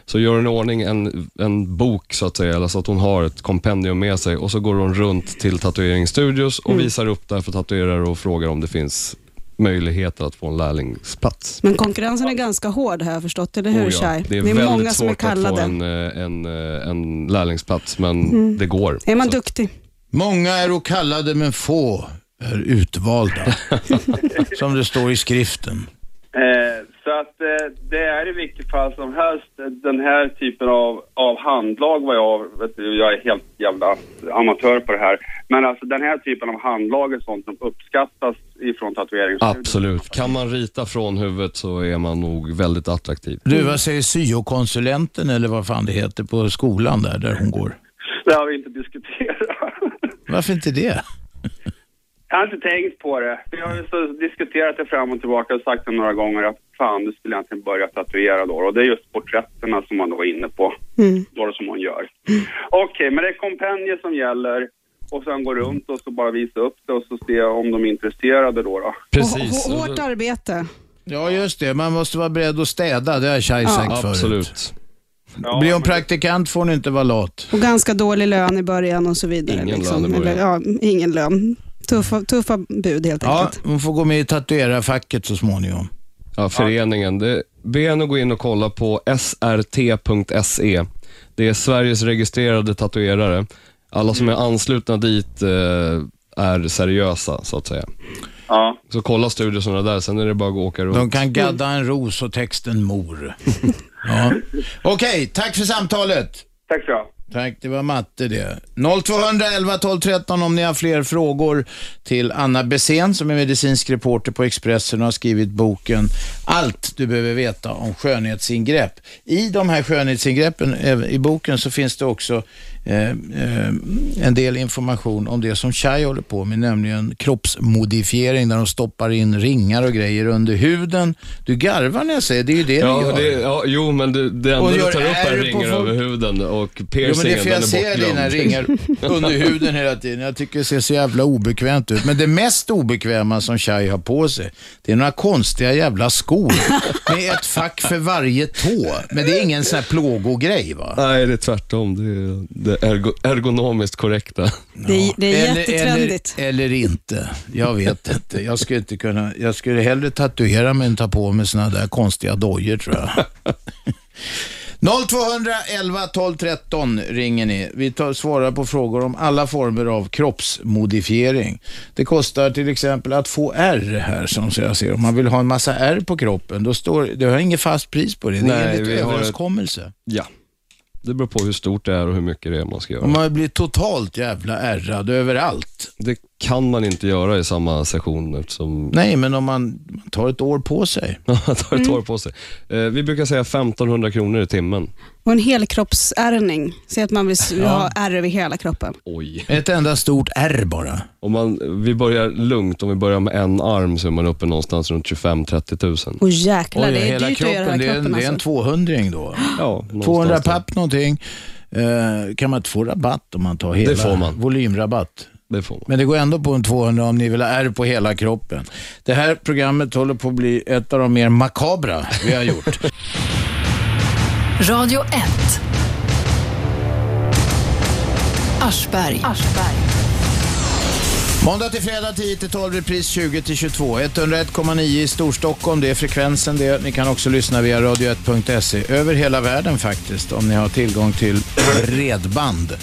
Så gör hon i ordning en, en bok så att säga, eller så att hon har ett kompendium med sig och så går hon runt till tatueringsstudios och Mm. visar upp där för tatuerare och frågar om det finns möjligheter att få en lärlingsplats. Men konkurrensen är ganska hård har jag förstått, eller hur Oh ja, Shai? Det är, väldigt många som är svårt att få kallade. en, eh, en, eh, en lärlingsplats, men Mm. det går. Är man duktig? Många är kallade men få är utvalda. som det står i skriften. Eh, så att eh, det är i vilket fall som helst eh, den här typen av, av handlag vad jag vet du, jag är helt jävla amatör på det här. Men alltså den här typen av handlag är sånt som uppskattas ifrån tatueringsstudion. Absolut. Kan man rita från huvudet så är man nog väldigt attraktiv. Du, vad säger syokonsulenten eller vad fan det heter på skolan där, där hon går? ska vi inte diskutera. Varför inte det? Jag har inte tänkt på det. Vi har ju så diskuterat det fram och tillbaka och sagt det några gånger att fan, du skulle egentligen börja tatuera då. Och det är just porträtterna som man då var inne på. Då som hon gör. Okej, men det är kompendier som gäller och sen gå runt och så bara visa upp det och så se om de är intresserade då. då. Hå- Hårt arbete. Ja, just det. Man måste vara beredd att städa. Det har Shai Ja. sagt förut. Absolut. Blir hon praktikant får hon inte vara lat. Och ganska dålig lön i början och så vidare. liksom. Ingen lön i början. Eller, ja, ingen lön. Tuffa, tuffa bud helt Ja, enkelt. hon får gå med i tatuerarfacket så småningom. Ja, föreningen. Det, be henne gå in och kolla på srt.se. E. Det är Sveriges registrerade tatuerare. Alla som är anslutna dit eh, är seriösa, så att säga. Ja. Så kolla studiosarna där, sen är det bara att gå och åka runt. De kan gadda en ros och texten mor. ja. Okej, tack för samtalet. Tack så Tack, det var matte det. 0211 12 13 om ni har fler frågor till Anna Bessén som är medicinsk reporter på Expressen och har skrivit boken Allt du behöver veta om skönhetsingrepp. I de här skönhetsingreppen eh, i boken så finns det också eh, eh, en del information om det som Chai håller på med, nämligen kroppsmodifiering där de stoppar in ringar och grejer under huden. Du garvar när jag säger det, det är ju det ni Ja, gör. det, ja, jo, men det, det enda Och du gör tar upp ärr är på ringar folk. över huden och Jo, men det är piercingen, för den jag ser är dina bortglömd. ringar under huden hela tiden. Jag tycker det ser så jävla obekvämt ut. Men det mest obekväma som Shai har på sig, det är några konstiga jävla skor med ett fack för varje tå. Men det är ingen sån här plågogrej va? Nej, det är tvärtom. Det är det ergo, ergonomiskt korrekta. Det, är- det är Eller- jättetrendigt. Eller, eller inte. Jag vet inte. Jag skulle, inte kunna, jag skulle hellre tatuera mig än ta på mig såna där konstiga dojor tror jag. 0211 12 13 ringer ni. Vi tar, svarar på frågor om alla former av kroppsmodifiering. Det kostar till exempel att få R här som jag ser. Om man vill ha en massa R på kroppen, då står, det har inget fast pris på det. Det är enligt överenskommelse. Ja. Det beror på hur stort det är och hur mycket det är man ska göra. Om man blir totalt jävla ärrad överallt. Det kan man inte göra i samma session eftersom... Nej, Mm. men om man, man tar ett år på sig. man tar ett år på sig. Eh, vi brukar säga 1500 kronor i timmen. Och en helkroppsärrning. Säg att man vill s- Ja. ha ärr över hela kroppen. Oj. Ett enda stort R bara. Om man, vi börjar lugnt, om vi börjar med en arm så är man uppe någonstans runt 25 30 000. Åh jäklar, det är hela dyrt att göra hela kroppen, det är en- kroppen. det är en alltså. 200 då. Ja, 200 någonstans där. papp någonting. Eh, kan man inte få rabatt om man tar hela? Det får man. Volymrabatt. Det får man. Men det går ändå på en 200 om ni vill ha R på hela kroppen. Det här programmet håller på att bli ett av de mer makabra vi har gjort. Radio 1. Aschberg. Måndag till fredag 10-12, repris 20-22. 101,9 i Storstockholm, det är frekvensen det. Ni kan också lyssna via radio1.se, över hela världen faktiskt, om ni har tillgång till bredband.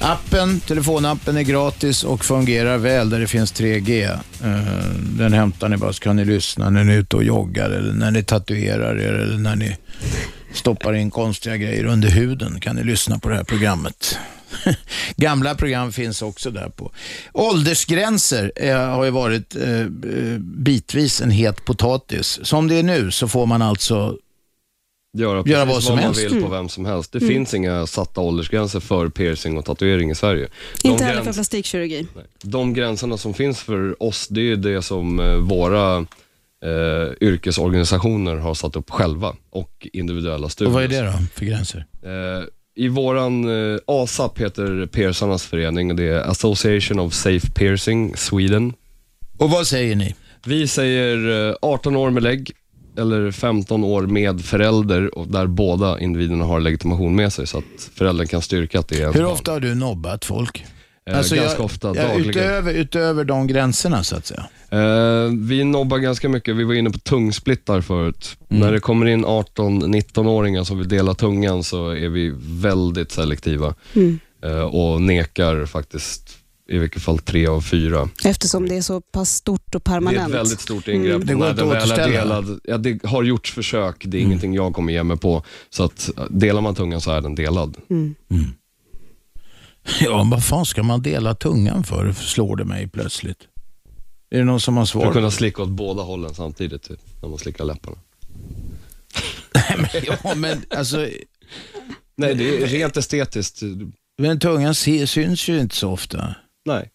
Appen, telefonappen är gratis och fungerar väl där det finns 3G. Eh, Den hämtar ni bara så kan ni lyssna när ni är ute och joggar eller när ni tatuerar er eller när ni stoppar in konstiga grejer under huden kan ni lyssna på det här programmet. Gamla program finns också där på. Åldersgränser eh, har ju varit eh, eh, bitvis en het potatis. Som det är nu så får man alltså Göra, Göra precis vad som man helst. vill på Mm. vem som helst. Det Mm. finns inga satta åldersgränser för piercing och tatuering i Sverige. De Inte heller gräns- för plastikkirurgi. de gränserna som finns för oss, det är ju det som eh, våra eh, yrkesorganisationer har satt upp själva och individuella studier. Och vad är det då för gränser? Eh, I våran eh, ASAP heter piercarnas förening och det är Association of Safe Piercing Sweden. Och vad säger ni? Vi säger eh, 18 år med lägg eller 15 år med förälder och där båda individerna har legitimation med sig så att föräldern kan styrka att det är ens Hur barn. ofta har du nobbat folk? Eh, ganska ofta, dagligen. Utöver, utöver de gränserna så att säga. Eh, vi nobbar ganska mycket. Vi var inne på tungsplittar förut. Mm. När det kommer in 18-19-åringar som vill dela tungan så är vi väldigt selektiva Mm. eh, och nekar faktiskt i vilket fall tre av fyra. Eftersom det är så pass stort och Det permanent. är ett väldigt stort ingrepp. Mm. När den väl är Delad, ja, det har gjorts försök, det är ingenting jag kommer ge mig på. Så att eh, delar man tungan så är den delad. Mm. Ja, men vad fan ska man dela tungan för? Slår det mig plötsligt. Är det någon som har svar? För att på kunna slicka åt båda hållen samtidigt, typ, när man slickar läpparna. Ja, men alltså... Nej, det är rent estetiskt. Men tungan se- syns ju inte så ofta. Nej.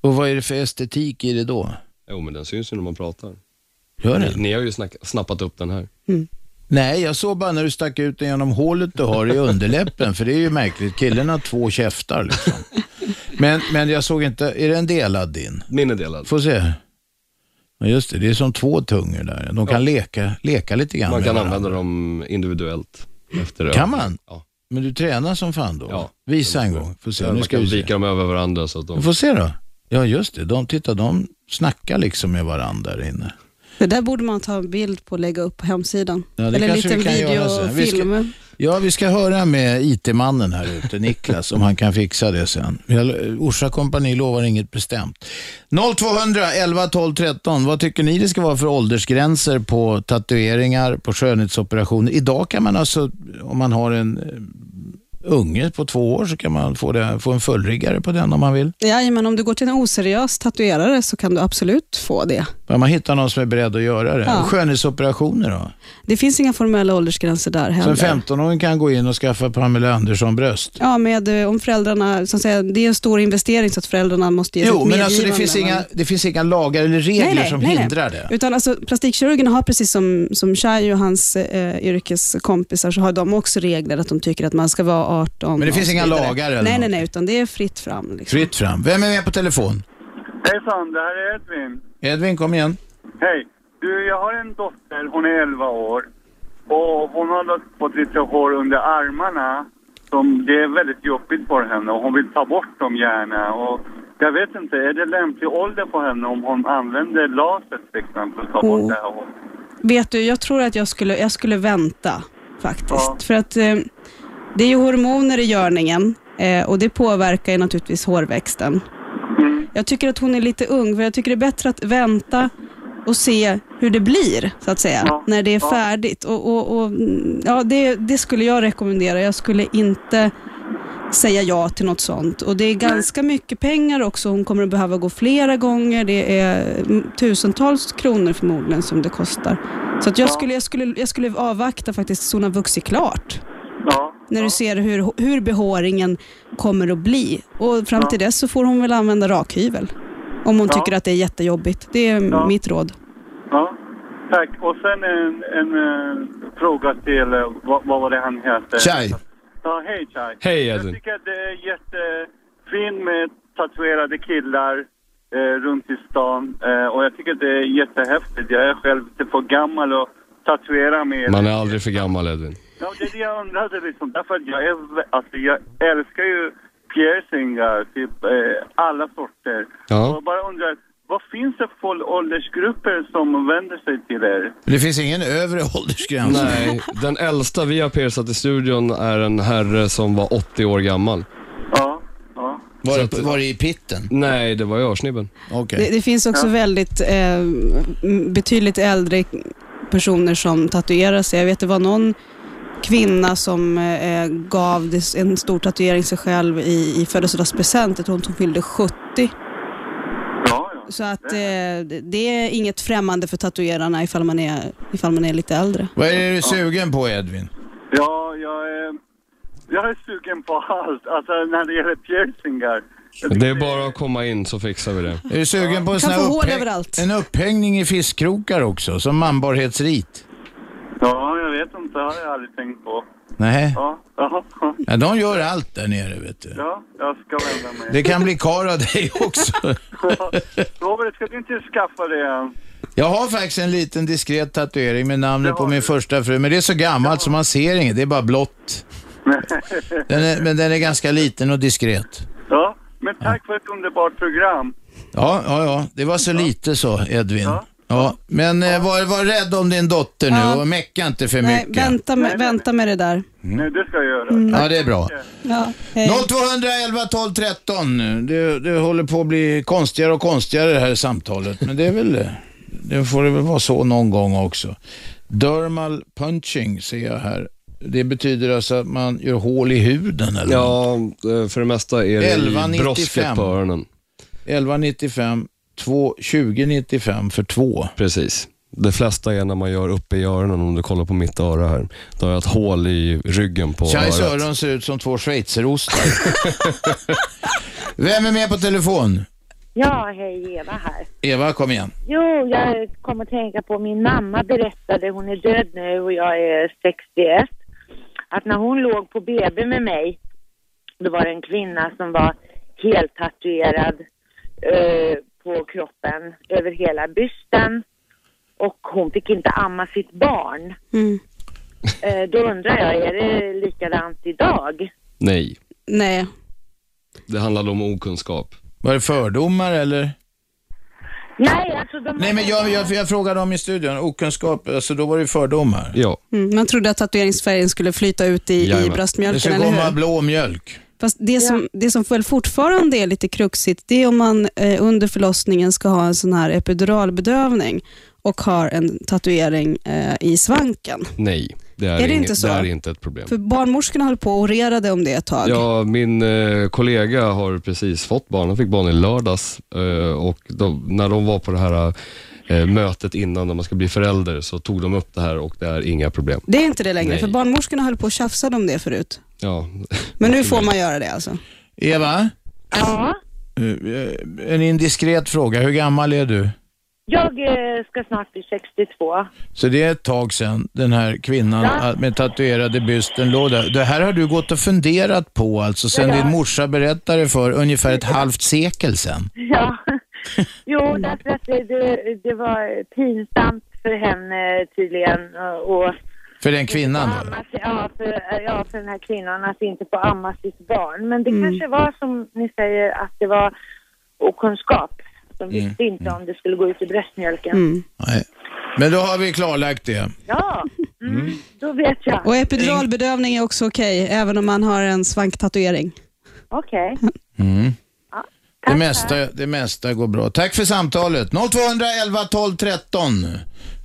Och vad är det för estetik i det då? Jo, men den syns ju när man pratar. Gör den? Ni, ni har ju snack, snappat upp den här. Nej, jag såg bara när du stack ut den genom hålet du har i underläppen, för det är ju märkligt. Killen har två käftar liksom. Men, men jag såg inte, är den delad din? Min är delad. Får se. Ja, just det, det är som två tungor där. De kan leka, leka lite grann Man kan med använda dem individuellt. Efter Kan man? Ja. Men du tränar som fan då? Ja. Visa en gång. Får se. man Nu ska kan vi se. vika dem över varandra så att de... Får se då. Ja, just det. De, titta, de snackar liksom med varandra där inne. Det där borde man ta en bild på och lägga upp på hemsidan. Ja, det Eller en kanske vi liten kan göra sen. Vi ska- videofilm. Ja, vi ska höra med IT-mannen här ute, Niklas, om han kan fixa det sen. Jag- Orsa kompani lovar inget bestämt. 0200 11 12 13. Vad tycker ni det ska vara för åldersgränser på tatueringar, på skönhetsoperationer? Idag kan man alltså, om man har en eh, unge på två år, så kan man få, det, få en fullriggare på den om man vill. Ja, men om du går till en oseriös tatuerare så kan du absolut få det. Men man hittar någon som är beredd att göra det. Ja. Och Skönhetsoperationer då? Det finns inga formella åldersgränser där Så en heller. 15-åring kan gå in och skaffa Pamela Andersson-bröst? Ja, med, eh, om föräldrarna, så att säga, det är en stor investering så att föräldrarna måste ge Jo, sitt men alltså det medgivande, finns, men- inga, det finns inga lagar eller regler som hindrar det. Utan alltså, plastikkirurgerna har precis som, som Shai och hans eh, yrkeskompisar så har de också regler att de tycker att man ska vara 18. Men det och finns så inga vidare. lagar eller Nej, nej, något? nej, utan det är fritt fram. Liksom. Fritt fram. Vem är med på telefon? Hejsan, det här är Edvin. Edvin, kom igen. Hej. Du, jag har en dotter, hon är 11 år. Och hon har lagt på lite hår under armarna. Som det är väldigt jobbigt för henne och hon vill ta bort dem gärna. Och jag vet inte, är det lämplig ålder på henne om hon använder laser till exempel? Ta bort det här håret? Vet du, jag tror att jag skulle, jag skulle vänta faktiskt. För att eh, det är ju hormoner i görningen eh, och det påverkar ju naturligtvis hårväxten. Jag tycker att hon är lite ung, för jag tycker det är bättre att vänta och se hur det blir, så att säga, när det är färdigt. Och, och, och, mm, ja, det, det skulle jag rekommendera. Jag skulle inte säga ja till något sånt. Och det är ganska mycket pengar också. Hon kommer att behöva gå flera gånger. Det är mm, tusentals kronor förmodligen som det kostar. Så att jag, skulle, jag, skulle, jag skulle avvakta faktiskt tills hon har vuxit klart. När du ser hur, hur behåringen kommer att bli. Och fram till dess så får hon väl använda rakhyvel. Om hon Ja. tycker att det är jättejobbigt. Det är mitt råd. Ja, tack. Och sen en, en eh, fråga till, eh, vad, vad var det han hette? Chai. Ja, hej Chai. Hej, Jag Edvin. tycker att det är jättefint med tatuerade killar eh, runt i stan. Eh, och jag tycker att det är jättehäftigt. Jag är själv lite för gammal att tatuera mig. Man är aldrig för gammal, Edvin. Ja, det är det jag undrade liksom. Därför att jag, är, vä- alltså, jag älskar ju piercingar, typ eh, alla sorter. Ja. Och jag bara undrar, vad finns det för åldersgrupper som vänder sig till er? Det finns ingen övre åldersgräns. Nej, den äldsta vi har piercat i studion är en herre som var 80 år gammal. Ja, ja. Var, det, var det i pitten? Nej, det var i örsnibben. Okej. Det, det finns också väldigt eh, m- betydligt äldre personer som tatuerar sig. Jag vet det var någon kvinna som eh, gav det- en stor tatuering sig själv i, i födelsedagspresent. Jag tror hon fyllde 70. Så att eh, det- det är inget främmande för tatuerarna ifall man är, ifall man är lite äldre. Vad är du sugen på, Edvin? Ja, jag är, jag är sugen på allt, alltså när det gäller piercingar. Det är bara att komma in så fixar vi det. Är du sugen på en, Kan sån här få hål upphäng- överallt. en upphängning i fiskkrokar också, som manbarhetsrit? Ja, jag vet inte, det har jag aldrig tänkt på. Nej. Ja, ja, Ja, de gör allt där nere, vet du. ja jag ska vända mig. Det kan bli kar av dig också. Robert, ska du inte skaffa det än? Jag har faktiskt en liten diskret tatuering med namnet på min första fru, men det är så gammalt så man ser inget. Det är bara blått. Den är, men den är ganska liten och diskret. ja, men tack för ett underbart program. Ja, ja, ja. Det var så lite så, Edvin. Ja. Men eh, var, var rädd om din dotter nu Ja. och mecka inte för Nej, mycket. vänta med, vänta med det där. Mm. Nej, det ska jag göra. Ja, det är bra. Ja, hej. 0211 12 13. Det, det håller på att bli konstigare och konstigare det här samtalet, men det är väl... Det får det väl vara så någon gång också. Dermal punching ser jag här. Det betyder alltså att man gör hål i huden eller Ja, eh, för det mesta är det i 11.95. brosket på öronen. 1195 2 2095 för två. Precis. Det flesta är när man gör uppe i öronen, om du kollar på mitt öra här. Då har jag ett hål i ryggen på Chais örat. öron ser ut som två schweizerostar. Vem är med på telefon? Ja, hej Eva här. Eva, kom igen. Jo, jag kom att tänka på min mamma berättade, hon är död nu och jag är 61, att när hon låg på BB med mig, då var det en kvinna som var helt tatuerad eh, på kroppen över hela bysten och hon fick inte amma sitt barn. Mm. Eh, då undrar jag, är det likadant idag? Nej, Nej. det handlade om okunskap. Var det fördomar eller? Nej, alltså de... Nej, men jag, jag, jag frågade om i studion, okunskap, alltså då var det ju fördomar. Ja. Mm, man trodde att tatueringsfärgen skulle flyta ut i, i Det bröstmjölken, ska eller komma hur? blå mjölk. Fast det, som, det som väl fortfarande är lite kruxigt, det är om man eh, under förlossningen ska ha en sån här epiduralbedövning och har en tatuering eh, i svanken. Nej, det är, Är det inget, inte så? det är inte ett problem. För barnmorskorna höll på och orerade om det ett tag. Ja, min eh, kollega har precis fått barn. Hon fick barn i lördags eh, och de, när de var på det här eh, mötet innan när man ska bli förälder så tog de upp det här och det är inga problem. Det är inte det längre, Nej. för barnmorskorna höll på och tjafsade om det förut. Ja. Men nu får man göra det alltså. Eva? eh, Ja? En indiskret fråga, hur gammal är du? Jag eh, ska snart bli 62. Så det är ett tag sedan den här kvinnan Ja. all- med tatuerade bysten låg där. Det här har du gått och funderat på alltså sen din morsa berättade för ungefär ett halvt sekel sedan. Ja. Jo, därför att det, det, det var pinsamt för henne tydligen och För den kvinnan då? ja, för, ja, för den här kvinnan att inte få amma sitt barn. Men det kanske var som ni säger att det var okunskap. De visste inte om det skulle gå ut i bröstmjölken. Mm. Mm. Nej. Men då har vi klarlagt det. Ja, mm, då vet jag. Och epiduralbedövning är också okej, även om man har en svanktatuering. Okej. Mm. Det mesta, det mesta går bra. Tack för samtalet. 0211 12 13.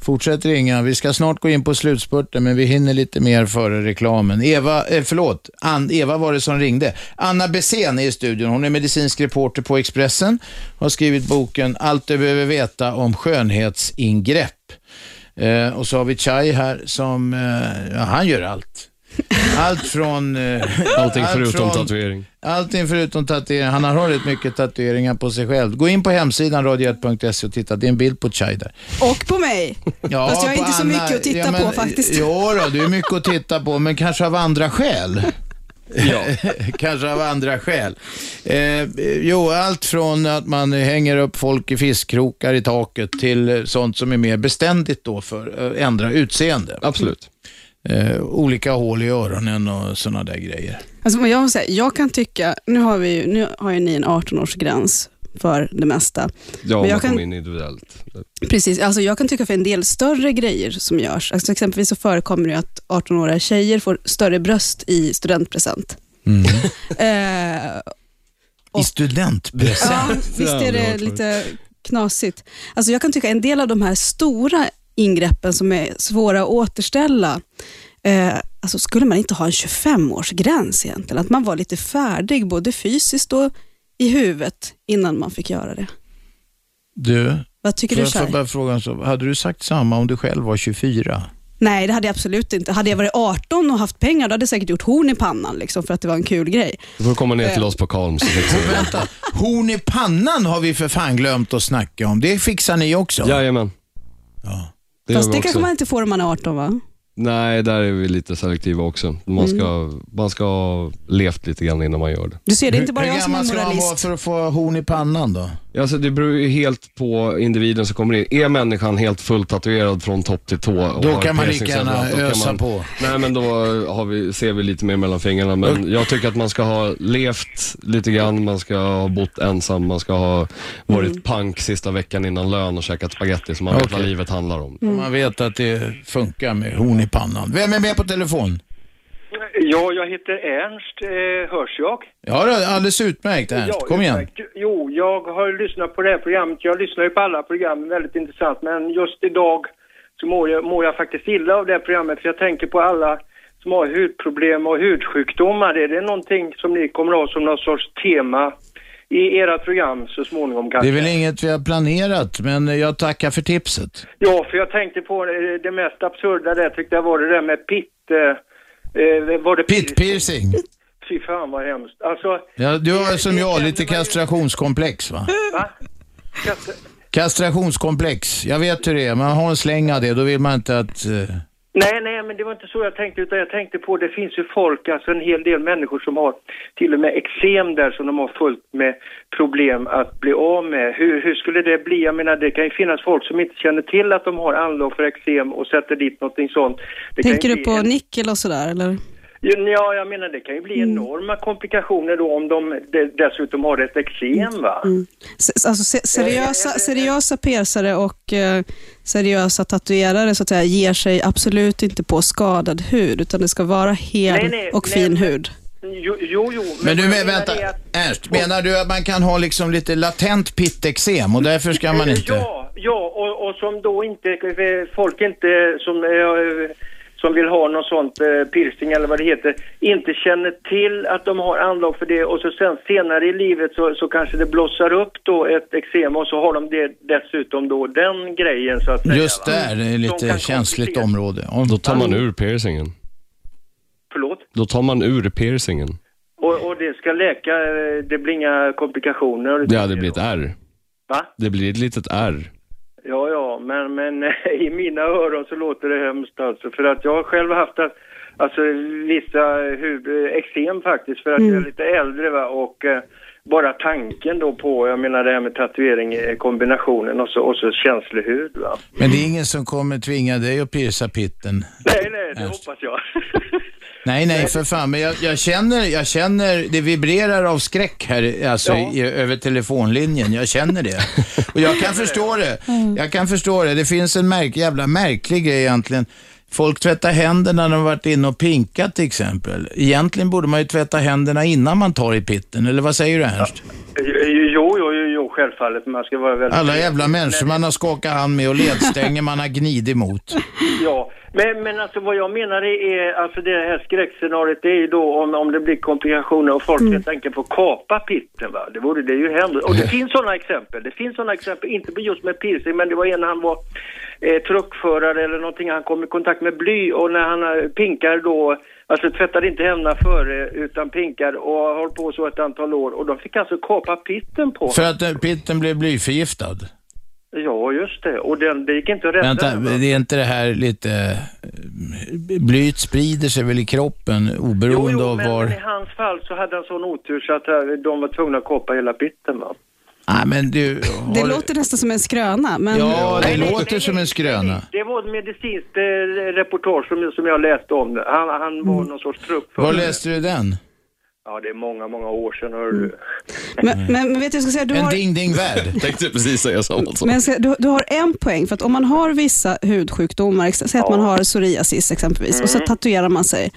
Fortsätt ringa. Vi ska snart gå in på slutspurten, men vi hinner lite mer före reklamen. Eva, eh, förlåt, An, Eva var det som ringde. Anna Besen är i studion. Hon är medicinsk reporter på Expressen. Har skrivit boken Allt du behöver veta om skönhetsingrepp. Eh, och så har vi Chai här som, eh, ja, han gör allt. Allt från... Eh, Allting allt förutom från- tatuering. Allting förutom tatueringar. Han har rätt mycket tatueringar på sig själv. Gå in på hemsidan radio1.se och titta. Det är en bild på Chai där. Och på mig. Fast jag har på inte så Anna- mycket att titta ja, men- på faktiskt. Jo då, det är mycket att titta på, men kanske av andra skäl. Ja. kanske av andra skäl. Eh, jo, allt från att man hänger upp folk i fiskkrokar i taket till eh, sånt som är mer beständigt då för eh, ändra utseende. Absolut. Eh, olika hål i öronen och sådana där grejer. Alltså, men jag, måste säga, jag kan tycka, nu har, vi, ju- nu har ju ni en 18-årsgräns för det mesta. Ja, men man jag kommer kan, in individuellt. precis, alltså jag kan tycka för en del större grejer som görs, alltså, exempelvis så förekommer det ju att 18-åriga tjejer får större bröst i studentpresent. Mm. Eh, I studentpresent. Ja, visst är det lite knasigt. Alltså jag kan tycka en del av de här stora ingreppen som är svåra att återställa, eh, alltså skulle man inte ha en 25-årsgräns egentligen? Att man var lite färdig både fysiskt och i huvudet innan man fick göra det. Du, Vad tycker får du, jag Shai? få bara fråga en sak? Hade du sagt samma om du själv var 24? Nej, det hade jag absolut inte. Hade jag varit 18 och haft pengar, då hade jag säkert gjort horn i pannan liksom, för att det var en kul grej. Du får komma ner till Eh. oss på Kalm så fixar vi det. Horn i pannan har vi för fan glömt att snacka om. Det fixar ni också. Jajamän. Ja. Det gör Fast vi det kanske också. man inte får om man är 18 va? Nej, där är vi lite selektiva också. Man ska, Mm. man ska ha levt lite grann innan man gör det. Du ser, det är inte bara Hur jag som är gammal ska man moralist. vara för att få horn i pannan då? Ja, Alltså, det beror ju helt på individen som kommer in. Är människan helt fullt tatuerad från topp till tå och Då har kan man piercings lika gärna överallt, då kan ösa man- på. Nej, men då har vi, ser vi lite mer mellan fingrarna. Men jag tycker att man ska ha levt lite grann, man ska ha bott ensam, man ska ha varit Mm. pank sista veckan innan lön och käkat spaghetti så man vet vad Okej. livet handlar om. Mm. Man vet att det funkar med horn i pannan. Vem är med på telefon? Ja, jag heter Ernst. Eh, hörs jag? Ja, då, alldeles utmärkt Ernst. Ja, Kom igen. utmärkt. Jo, jag har lyssnat på det här programmet. Jag lyssnar ju på alla program, väldigt intressant. Men just idag så mår jag, mår jag faktiskt illa av det här programmet. För jag tänker på alla som har hudproblem och hudsjukdomar. Är det någonting som ni kommer ha som någon sorts tema i era program så småningom Det kanske. är väl inget vi har planerat, men jag tackar för tipset. Ja, för jag tänkte på eh, det mest absurda där tyckte jag var det där med pit... eh, Eh, var det pit piercing? Fy fan vad hemskt. Alltså, Ja, du har som jag lite kastrationskomplex, va? va? Katt- Kastrationskomplex. Jag vet hur det är. Man har en släng av det, då vill man inte att... eh, Nej, nej, men det var inte så jag tänkte, utan jag tänkte på det finns ju folk, alltså en hel del människor som har till och med eksem där som de har fullt med problem att bli av med. Hur, hur skulle det bli? Jag menar, det kan ju finnas folk som inte känner till att de har anlag för eksem och sätter dit någonting sånt. Det kan ju Tänker du bli på en- nickel och sådär? Eller? Ja, jag menar det kan ju Mm. bli enorma komplikationer då om de de- dessutom har ett eksem, va? Eh, Mm. Se- Alltså, se- seriösa, seriösa persare och eh, seriösa tatuerare så att säga, ger sig absolut inte på skadad hud, utan det ska vara hel Nej, nej, och nej, fin men- hud. Jo, jo, jo Men du, vad men jag menar vänta, är att- Ernst, menar du att man kan ha liksom lite latent pitteksem och därför ska man inte... Eh, Ja, ja och, och som då inte, eh, folk inte som, eh, som vill ha någon sånt eh, piercing eller vad det heter, inte känner till att de har anlag för det och så sen senare i livet så, så kanske det blossar upp då ett eksem och så har de det dessutom då den grejen så att säga. Just va? där, det är lite känsligt område. Ja. Då tar man ur piercingen. Förlåt? Då tar man ur piercingen. Och, och det ska läka, eh, det blir inga komplikationer. Ja, det blir ett R. Va? Det blir ett litet R. Ja, ja, men, men i mina öron så låter det hemskt alltså. För att jag har själv haft att, alltså, vissa hud- eksem faktiskt, för att Mm. jag är lite äldre va? och eh, bara tanken då på, jag menar det här med tatuering, eh, kombinationen och så, och så känslig hud va. Men det är ingen som kommer tvinga dig att pierca pitten. Nej, nej, det Ernst. hoppas jag. Nej, nej, för fan. Men jag, jag, känner, jag känner, det vibrerar av skräck här, alltså i, över telefonlinjen. Jag känner det. Och jag kan förstå det. Jag kan förstå det. Det finns en märk, jävla märklig grej egentligen. Folk tvättar händerna när de varit inne och pinkat till exempel. Egentligen borde man ju tvätta händerna innan man tar i pitten, eller vad säger du Ernst? Jo, jo, jo, jo självfallet, men man ska vara väldigt... Alla jävla människor man har skakat hand med och ledstänger man har gnidit mot. Ja, men, men alltså vad jag menar är, alltså det här skräckscenariot det är ju då om, om det blir komplikationer och folk Mm. helt enkelt får kapa pitten va. Det vore det är ju hemskt. Och det finns sådana exempel. Det finns sådana exempel, inte just med piercing, men det var en han var eh, truckförare eller någonting, han kom i kontakt med bly och när han eh, pinkar då, alltså tvättade inte händerna före utan pinkar och har hållit på så ett antal år och de fick alltså kapa pitten på. För att eh, pitten blev blyförgiftad. Ja, just det. Och den, det gick inte att rädda. Vänta, den, va? det är inte det här lite... eh, Blyet sprider sig väl i kroppen oberoende jo, jo, av men, var... men i hans fall så hade han sån otur så att eh, de var tvungna att kapa hela bitten va. Nej, men du... Det har- låter nästan som en skröna, men... Ja, det låter som en skröna. Det var ett medicinskt eh, reportage som, som jag läste om. Han, han var någon sorts truppförare. Var läste du den? Ja, det är många, många år sedan hör du. Men, men, men vet du, jag ska säga, du har... ding-ding-värld. Tänkte precis säga samma Alltså. sak. Men jag ska, du, du har en poäng, för att om man har vissa hudsjukdomar, ex- säg att man har psoriasis exempelvis, och så Mm. tatuerar man sig,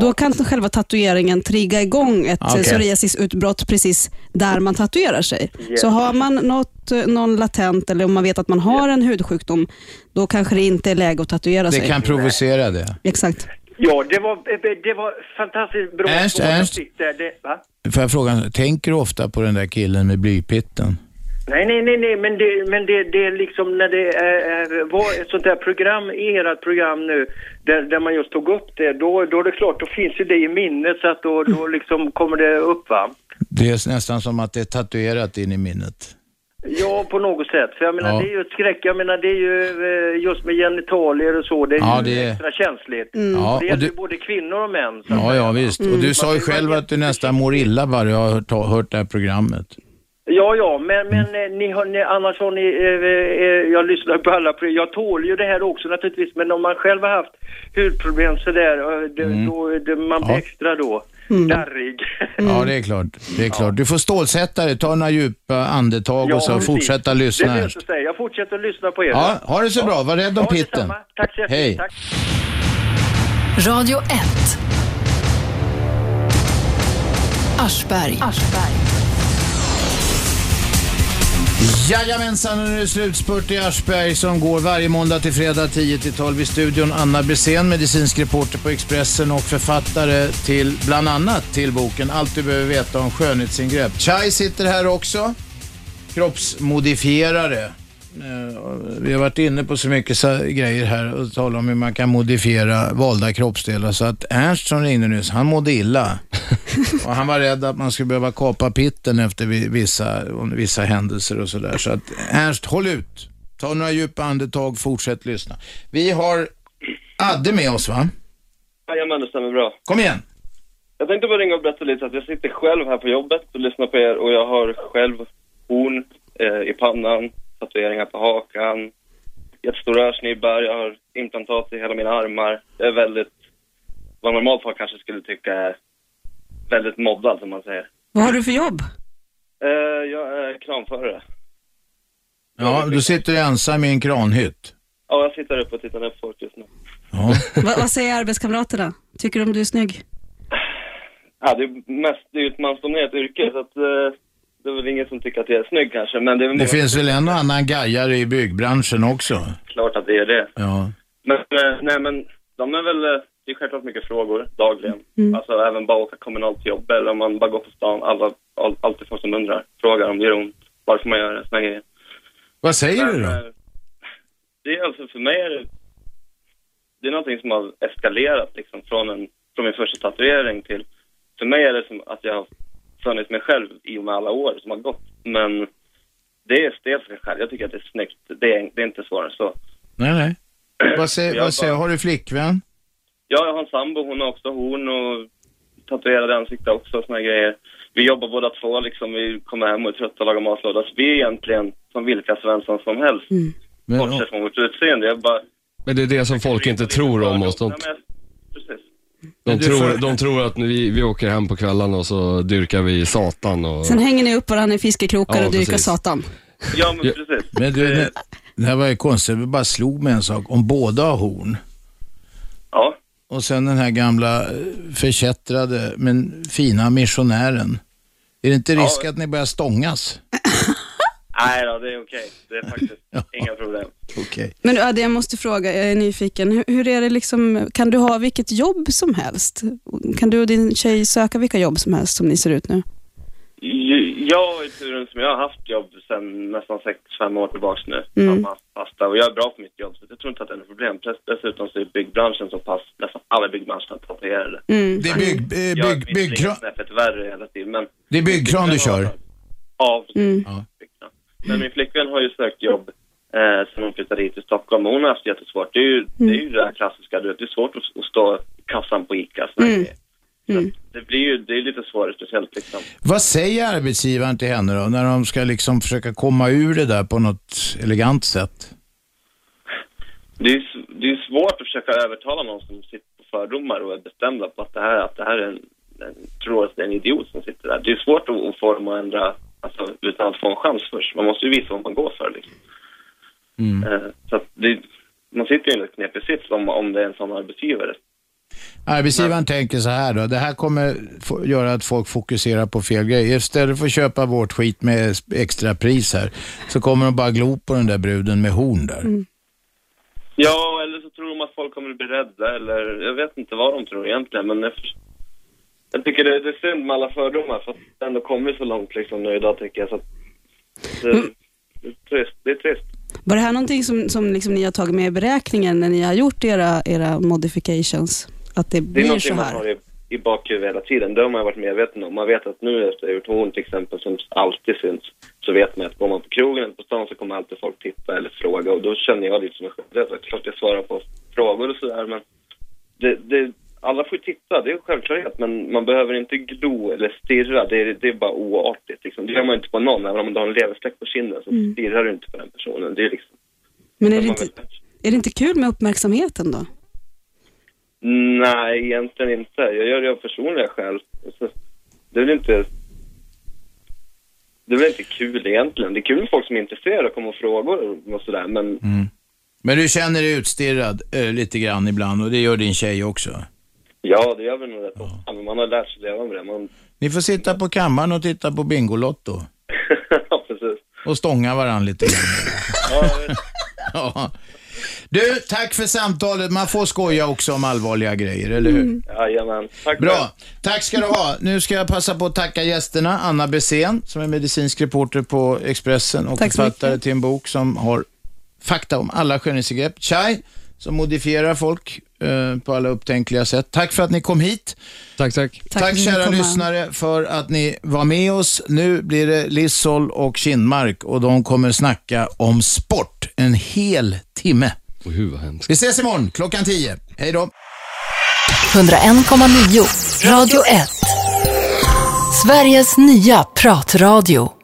då kan själva tatueringen trigga igång ett Ah, Okej. okay. psoriasisutbrott precis där man tatuerar sig. Så har man något, eh, någon latent, eller om man vet att man har en hudsjukdom, då kanske det inte är läge att tatuera Det sig. kan provocera det. Exakt. Ja, det var, eh, det var fantastiskt bra. Ernst, fråga Ernst. fick där. Det, va? Får jag fråga, tänker du ofta på den där killen med blypitten? Nej, nej, nej, nej, men det, men det, det är liksom när det eh, var ett sånt där program, i ert program nu, där, där man just tog upp det, då, då är det klart, då finns ju det i minnet så att då, då liksom kommer det upp va. Det är nästan som att det är tatuerat in i minnet. Ja, på något sätt. För jag menar, Ja. det är ju ett skräck. Jag menar, det är ju eh, just med genitalier och så, det är Ja, ju det är- extra känsligt. Mm. Ja, det och gäller ju du- både kvinnor och män. Så. Ja, ja visst. Och Mm. du sa ju själv att du nästan mår illa bara jag har hört, hört det här programmet. Ja, ja, men, men Mm. eh, ni har, ni, annars har ni, eh, eh, jag lyssnar på alla, program. jag tål ju det här också naturligtvis, men om man själv har haft hudproblem sådär, eh, det, Mm. då, det, man blir extra då darrig. Ja, det är klart. Det är klart. Du får stålsätta dig, ta några djupa andetag och så precis. fortsätta lyssna. Det här. löser sig. Jag fortsätter att lyssna på er. Ja, ha det så bra. Var rädd om Ja, pitten. detsamma. Tack så jättemycket. Hej. Tack. Radio 1. Aschberg. Aschberg. Jajamensan, och nu är det slutspurt i Aschberg som går varje måndag till fredag 10-12 i studion. Anna Brisén, medicinsk reporter på Expressen och författare till bland annat till boken Allt du behöver veta om skönhetsingrepp. Chai sitter här också, kroppsmodifierare. Eh, Vi har varit inne på så mycket så grejer här och talat om hur man kan modifiera valda kroppsdelar. Så att Ernst som ringde nyss, han mådde illa. Och han var rädd att man skulle behöva kapa pitten efter vi- vissa, vissa händelser och sådär. Så att Ernst, håll ut. Ta några djupa andetag, fortsätt lyssna. Vi har Adde med oss va? Jajamän, det stämmer bra. Kom igen. Jag tänkte bara ringa och berätta lite att jag sitter själv här på jobbet och lyssnar på er och jag har själv horn eh, i pannan, tatueringar på hakan, jättestora örsnibbar, jag har implantat i hela mina armar. Jag är väldigt, vad normalt folk kanske skulle tycka är väldigt mobbad som man säger. Vad har du för jobb? Eh, jag är kranförare. Ja, du sitter du ensam i en kranhytt. Ja, jag sitter uppe och tittar ner på folk just nu. Va, vad säger arbetskamraterna? Tycker de du är snygg? Ja, det är mest, det är ju ett mansdominerat yrke så att eh, det är väl ingen som tycker att jag är snygg kanske, men det är väl Det finns väl en och annan gajare i byggbranschen också? klart att det är det. Ja. Men, eh, nej men, de är väl, eh, det är självklart mycket frågor dagligen. Mm. Alltså även bara åka kommunalt till jobb eller om man bara går på stan, alla, all, alltid folk som undrar, frågar om det gör ont, varför man gör det, såna grejer. Vad säger du Men, då? eh, Det är alltså, för mig är det, det är någonting som har eskalerat liksom från, en, från min första tatuering till, för mig är det som att jag har funnit mig själv i och med alla år som har gått. Men det är stelt för sig själv, jag tycker att det är snyggt, det är, det är inte svårare än så. Nej, nej. Vad säger, Jag vad säger, bara- har du flickvän? Ja, jag har en sambo, hon har också horn och tatuerade ansikte också och såna här grejer. Vi jobbar båda två liksom, vi kommer hem och är trötta och lagar matlåda. Så vi är egentligen som vilka svensson som helst, bortsett från vårt utseende. Jag bara, Men det är det som folk inte tror om oss. De, nej men, precis. de, Men du tror, får- de tror att vi, vi åker hem på kvällarna och så dyrkar vi Satan och... Sen hänger ni upp varandra i fiskekrokar Ja, och dyrkar precis. satan. Ja, men precis. Men du, det, det här var ju konstigt, vi bara slog med en sak. Om båda har horn. Ja. Och sen den här gamla eh, förkättrade men fina missionären. Är det inte risk att ni börjar stångas? Nej då, det är okej. Det är faktiskt inga problem. Okej. Men ja, det jag måste fråga, jag är nyfiken. Hur, hur är det liksom, kan du ha vilket jobb som helst? Kan du och din tjej söka vilka jobb som helst som ni ser ut nu? J- Jag är turen som jag har haft jobb sedan nästan sex fem år tillbaka nu. Mm. Mm. Fasta, och jag är bra på mitt jobb, så jag tror inte att det är något problem. Dess- Dessutom så är byggbranschen så pass, nästan alla byggbranscher tatuerade. Mm. Det är bygg- eh, bygg- jag är visserligen byggkran- snäppet värre hela tiden, men Det är byggkran du kör? ja, Mm. men min flickvän har ju sökt jobb eh, sen hon flyttade hit till Stockholm och hon har haft jättesvårt. Det är ju det, är ju det här klassiska, du vet, det är svårt att, att stå i kassan på ICA. Så Mm. Mm. Det blir ju, det är lite svårare speciellt liksom. Vad säger arbetsgivaren till henne då, när de ska liksom försöka komma ur det där på något elegant sätt? Det är, s- det är svårt att försöka övertala någon som sitter på fördomar och är bestämda på att det här, att det här är en, en, tror att det är en idiot som sitter där. Det är svårt att, att få dem att ändra alltså, utan att få en chans först. Man måste ju visa vad man går för. Liksom. Eh, Så att det, man sitter ju i en knepig sits om, om det är en sån arbetsgivare. Arbetsgivaren tänker så här då, det här kommer få- göra att folk fokuserar på fel grejer. Istället för att köpa vårt skit med s- extra pris här, så kommer de bara glo på den där bruden med horn där. Ja, eller så tror de att folk kommer att bli rädda eller jag vet inte vad de tror egentligen men jag, förs- jag tycker det, det är synd med alla fördomar för att det ändå kommit så långt liksom nu idag tycker jag så att det, det är trist. Det är trist. Var det här någonting som, som liksom ni har tagit med i beräkningen när ni har gjort era, era modifications? Att det Det är blir så någonting man här? har i, i bakhuvudet hela tiden. Det har man varit medveten om. Man vet att nu efter jag gjort horn till exempel som alltid syns så vet man att går man på krogen eller på stan så kommer alltid folk titta eller fråga och då känner jag lite som en skyldighet. Det är klart jag svarar på frågor och sådär men det, det, alla får ju titta, det är en självklarhet men man behöver inte glo eller stirra. Det är, det är bara oartigt liksom. Det gör man ju inte på någon. Även om du har en leverfläck på kinden så Mm. stirrar du inte på den personen. Det är liksom, Men är det, man inte, vet- är det inte kul med uppmärksamheten då? Nej, egentligen inte. Jag gör det av personliga skäl. Alltså, Det är väl inte... Det är väl inte kul egentligen. Det är kul med folk som är intresserade och kommer med frågor och sådär, men Men du känner dig utstirrad eh, lite grann ibland och det gör din tjej också. ja, det gör vi nog rätt ofta. Men man har lärt sig leva med det. Man... Ni får sitta på kammaren och titta på Bingolotto. ja, precis. och stånga varandra lite. ja. Du, tack för samtalet. Man får skoja också om allvarliga grejer, eller hur? Jajamän. Tack Bra. Tack ska du ha. Nu ska jag passa på att tacka gästerna. Anna Bessén, som är medicinsk reporter på Expressen och Tack så författare mycket. till en bok som har fakta om alla skönhetsingrepp. Chai, som modifierar folk eh, på alla upptänkliga sätt. Tack för att ni kom hit. Tack, tack. Tack, för att ni kära kom. lyssnare för att ni var med oss. Nu blir det Lissol och Kindmark och de kommer snacka om sport en hel timme. Och hur vad hemskt. Vi ses imorgon klockan 10. Hej då. 101,9 Radio 1. Sveriges nya pratradio.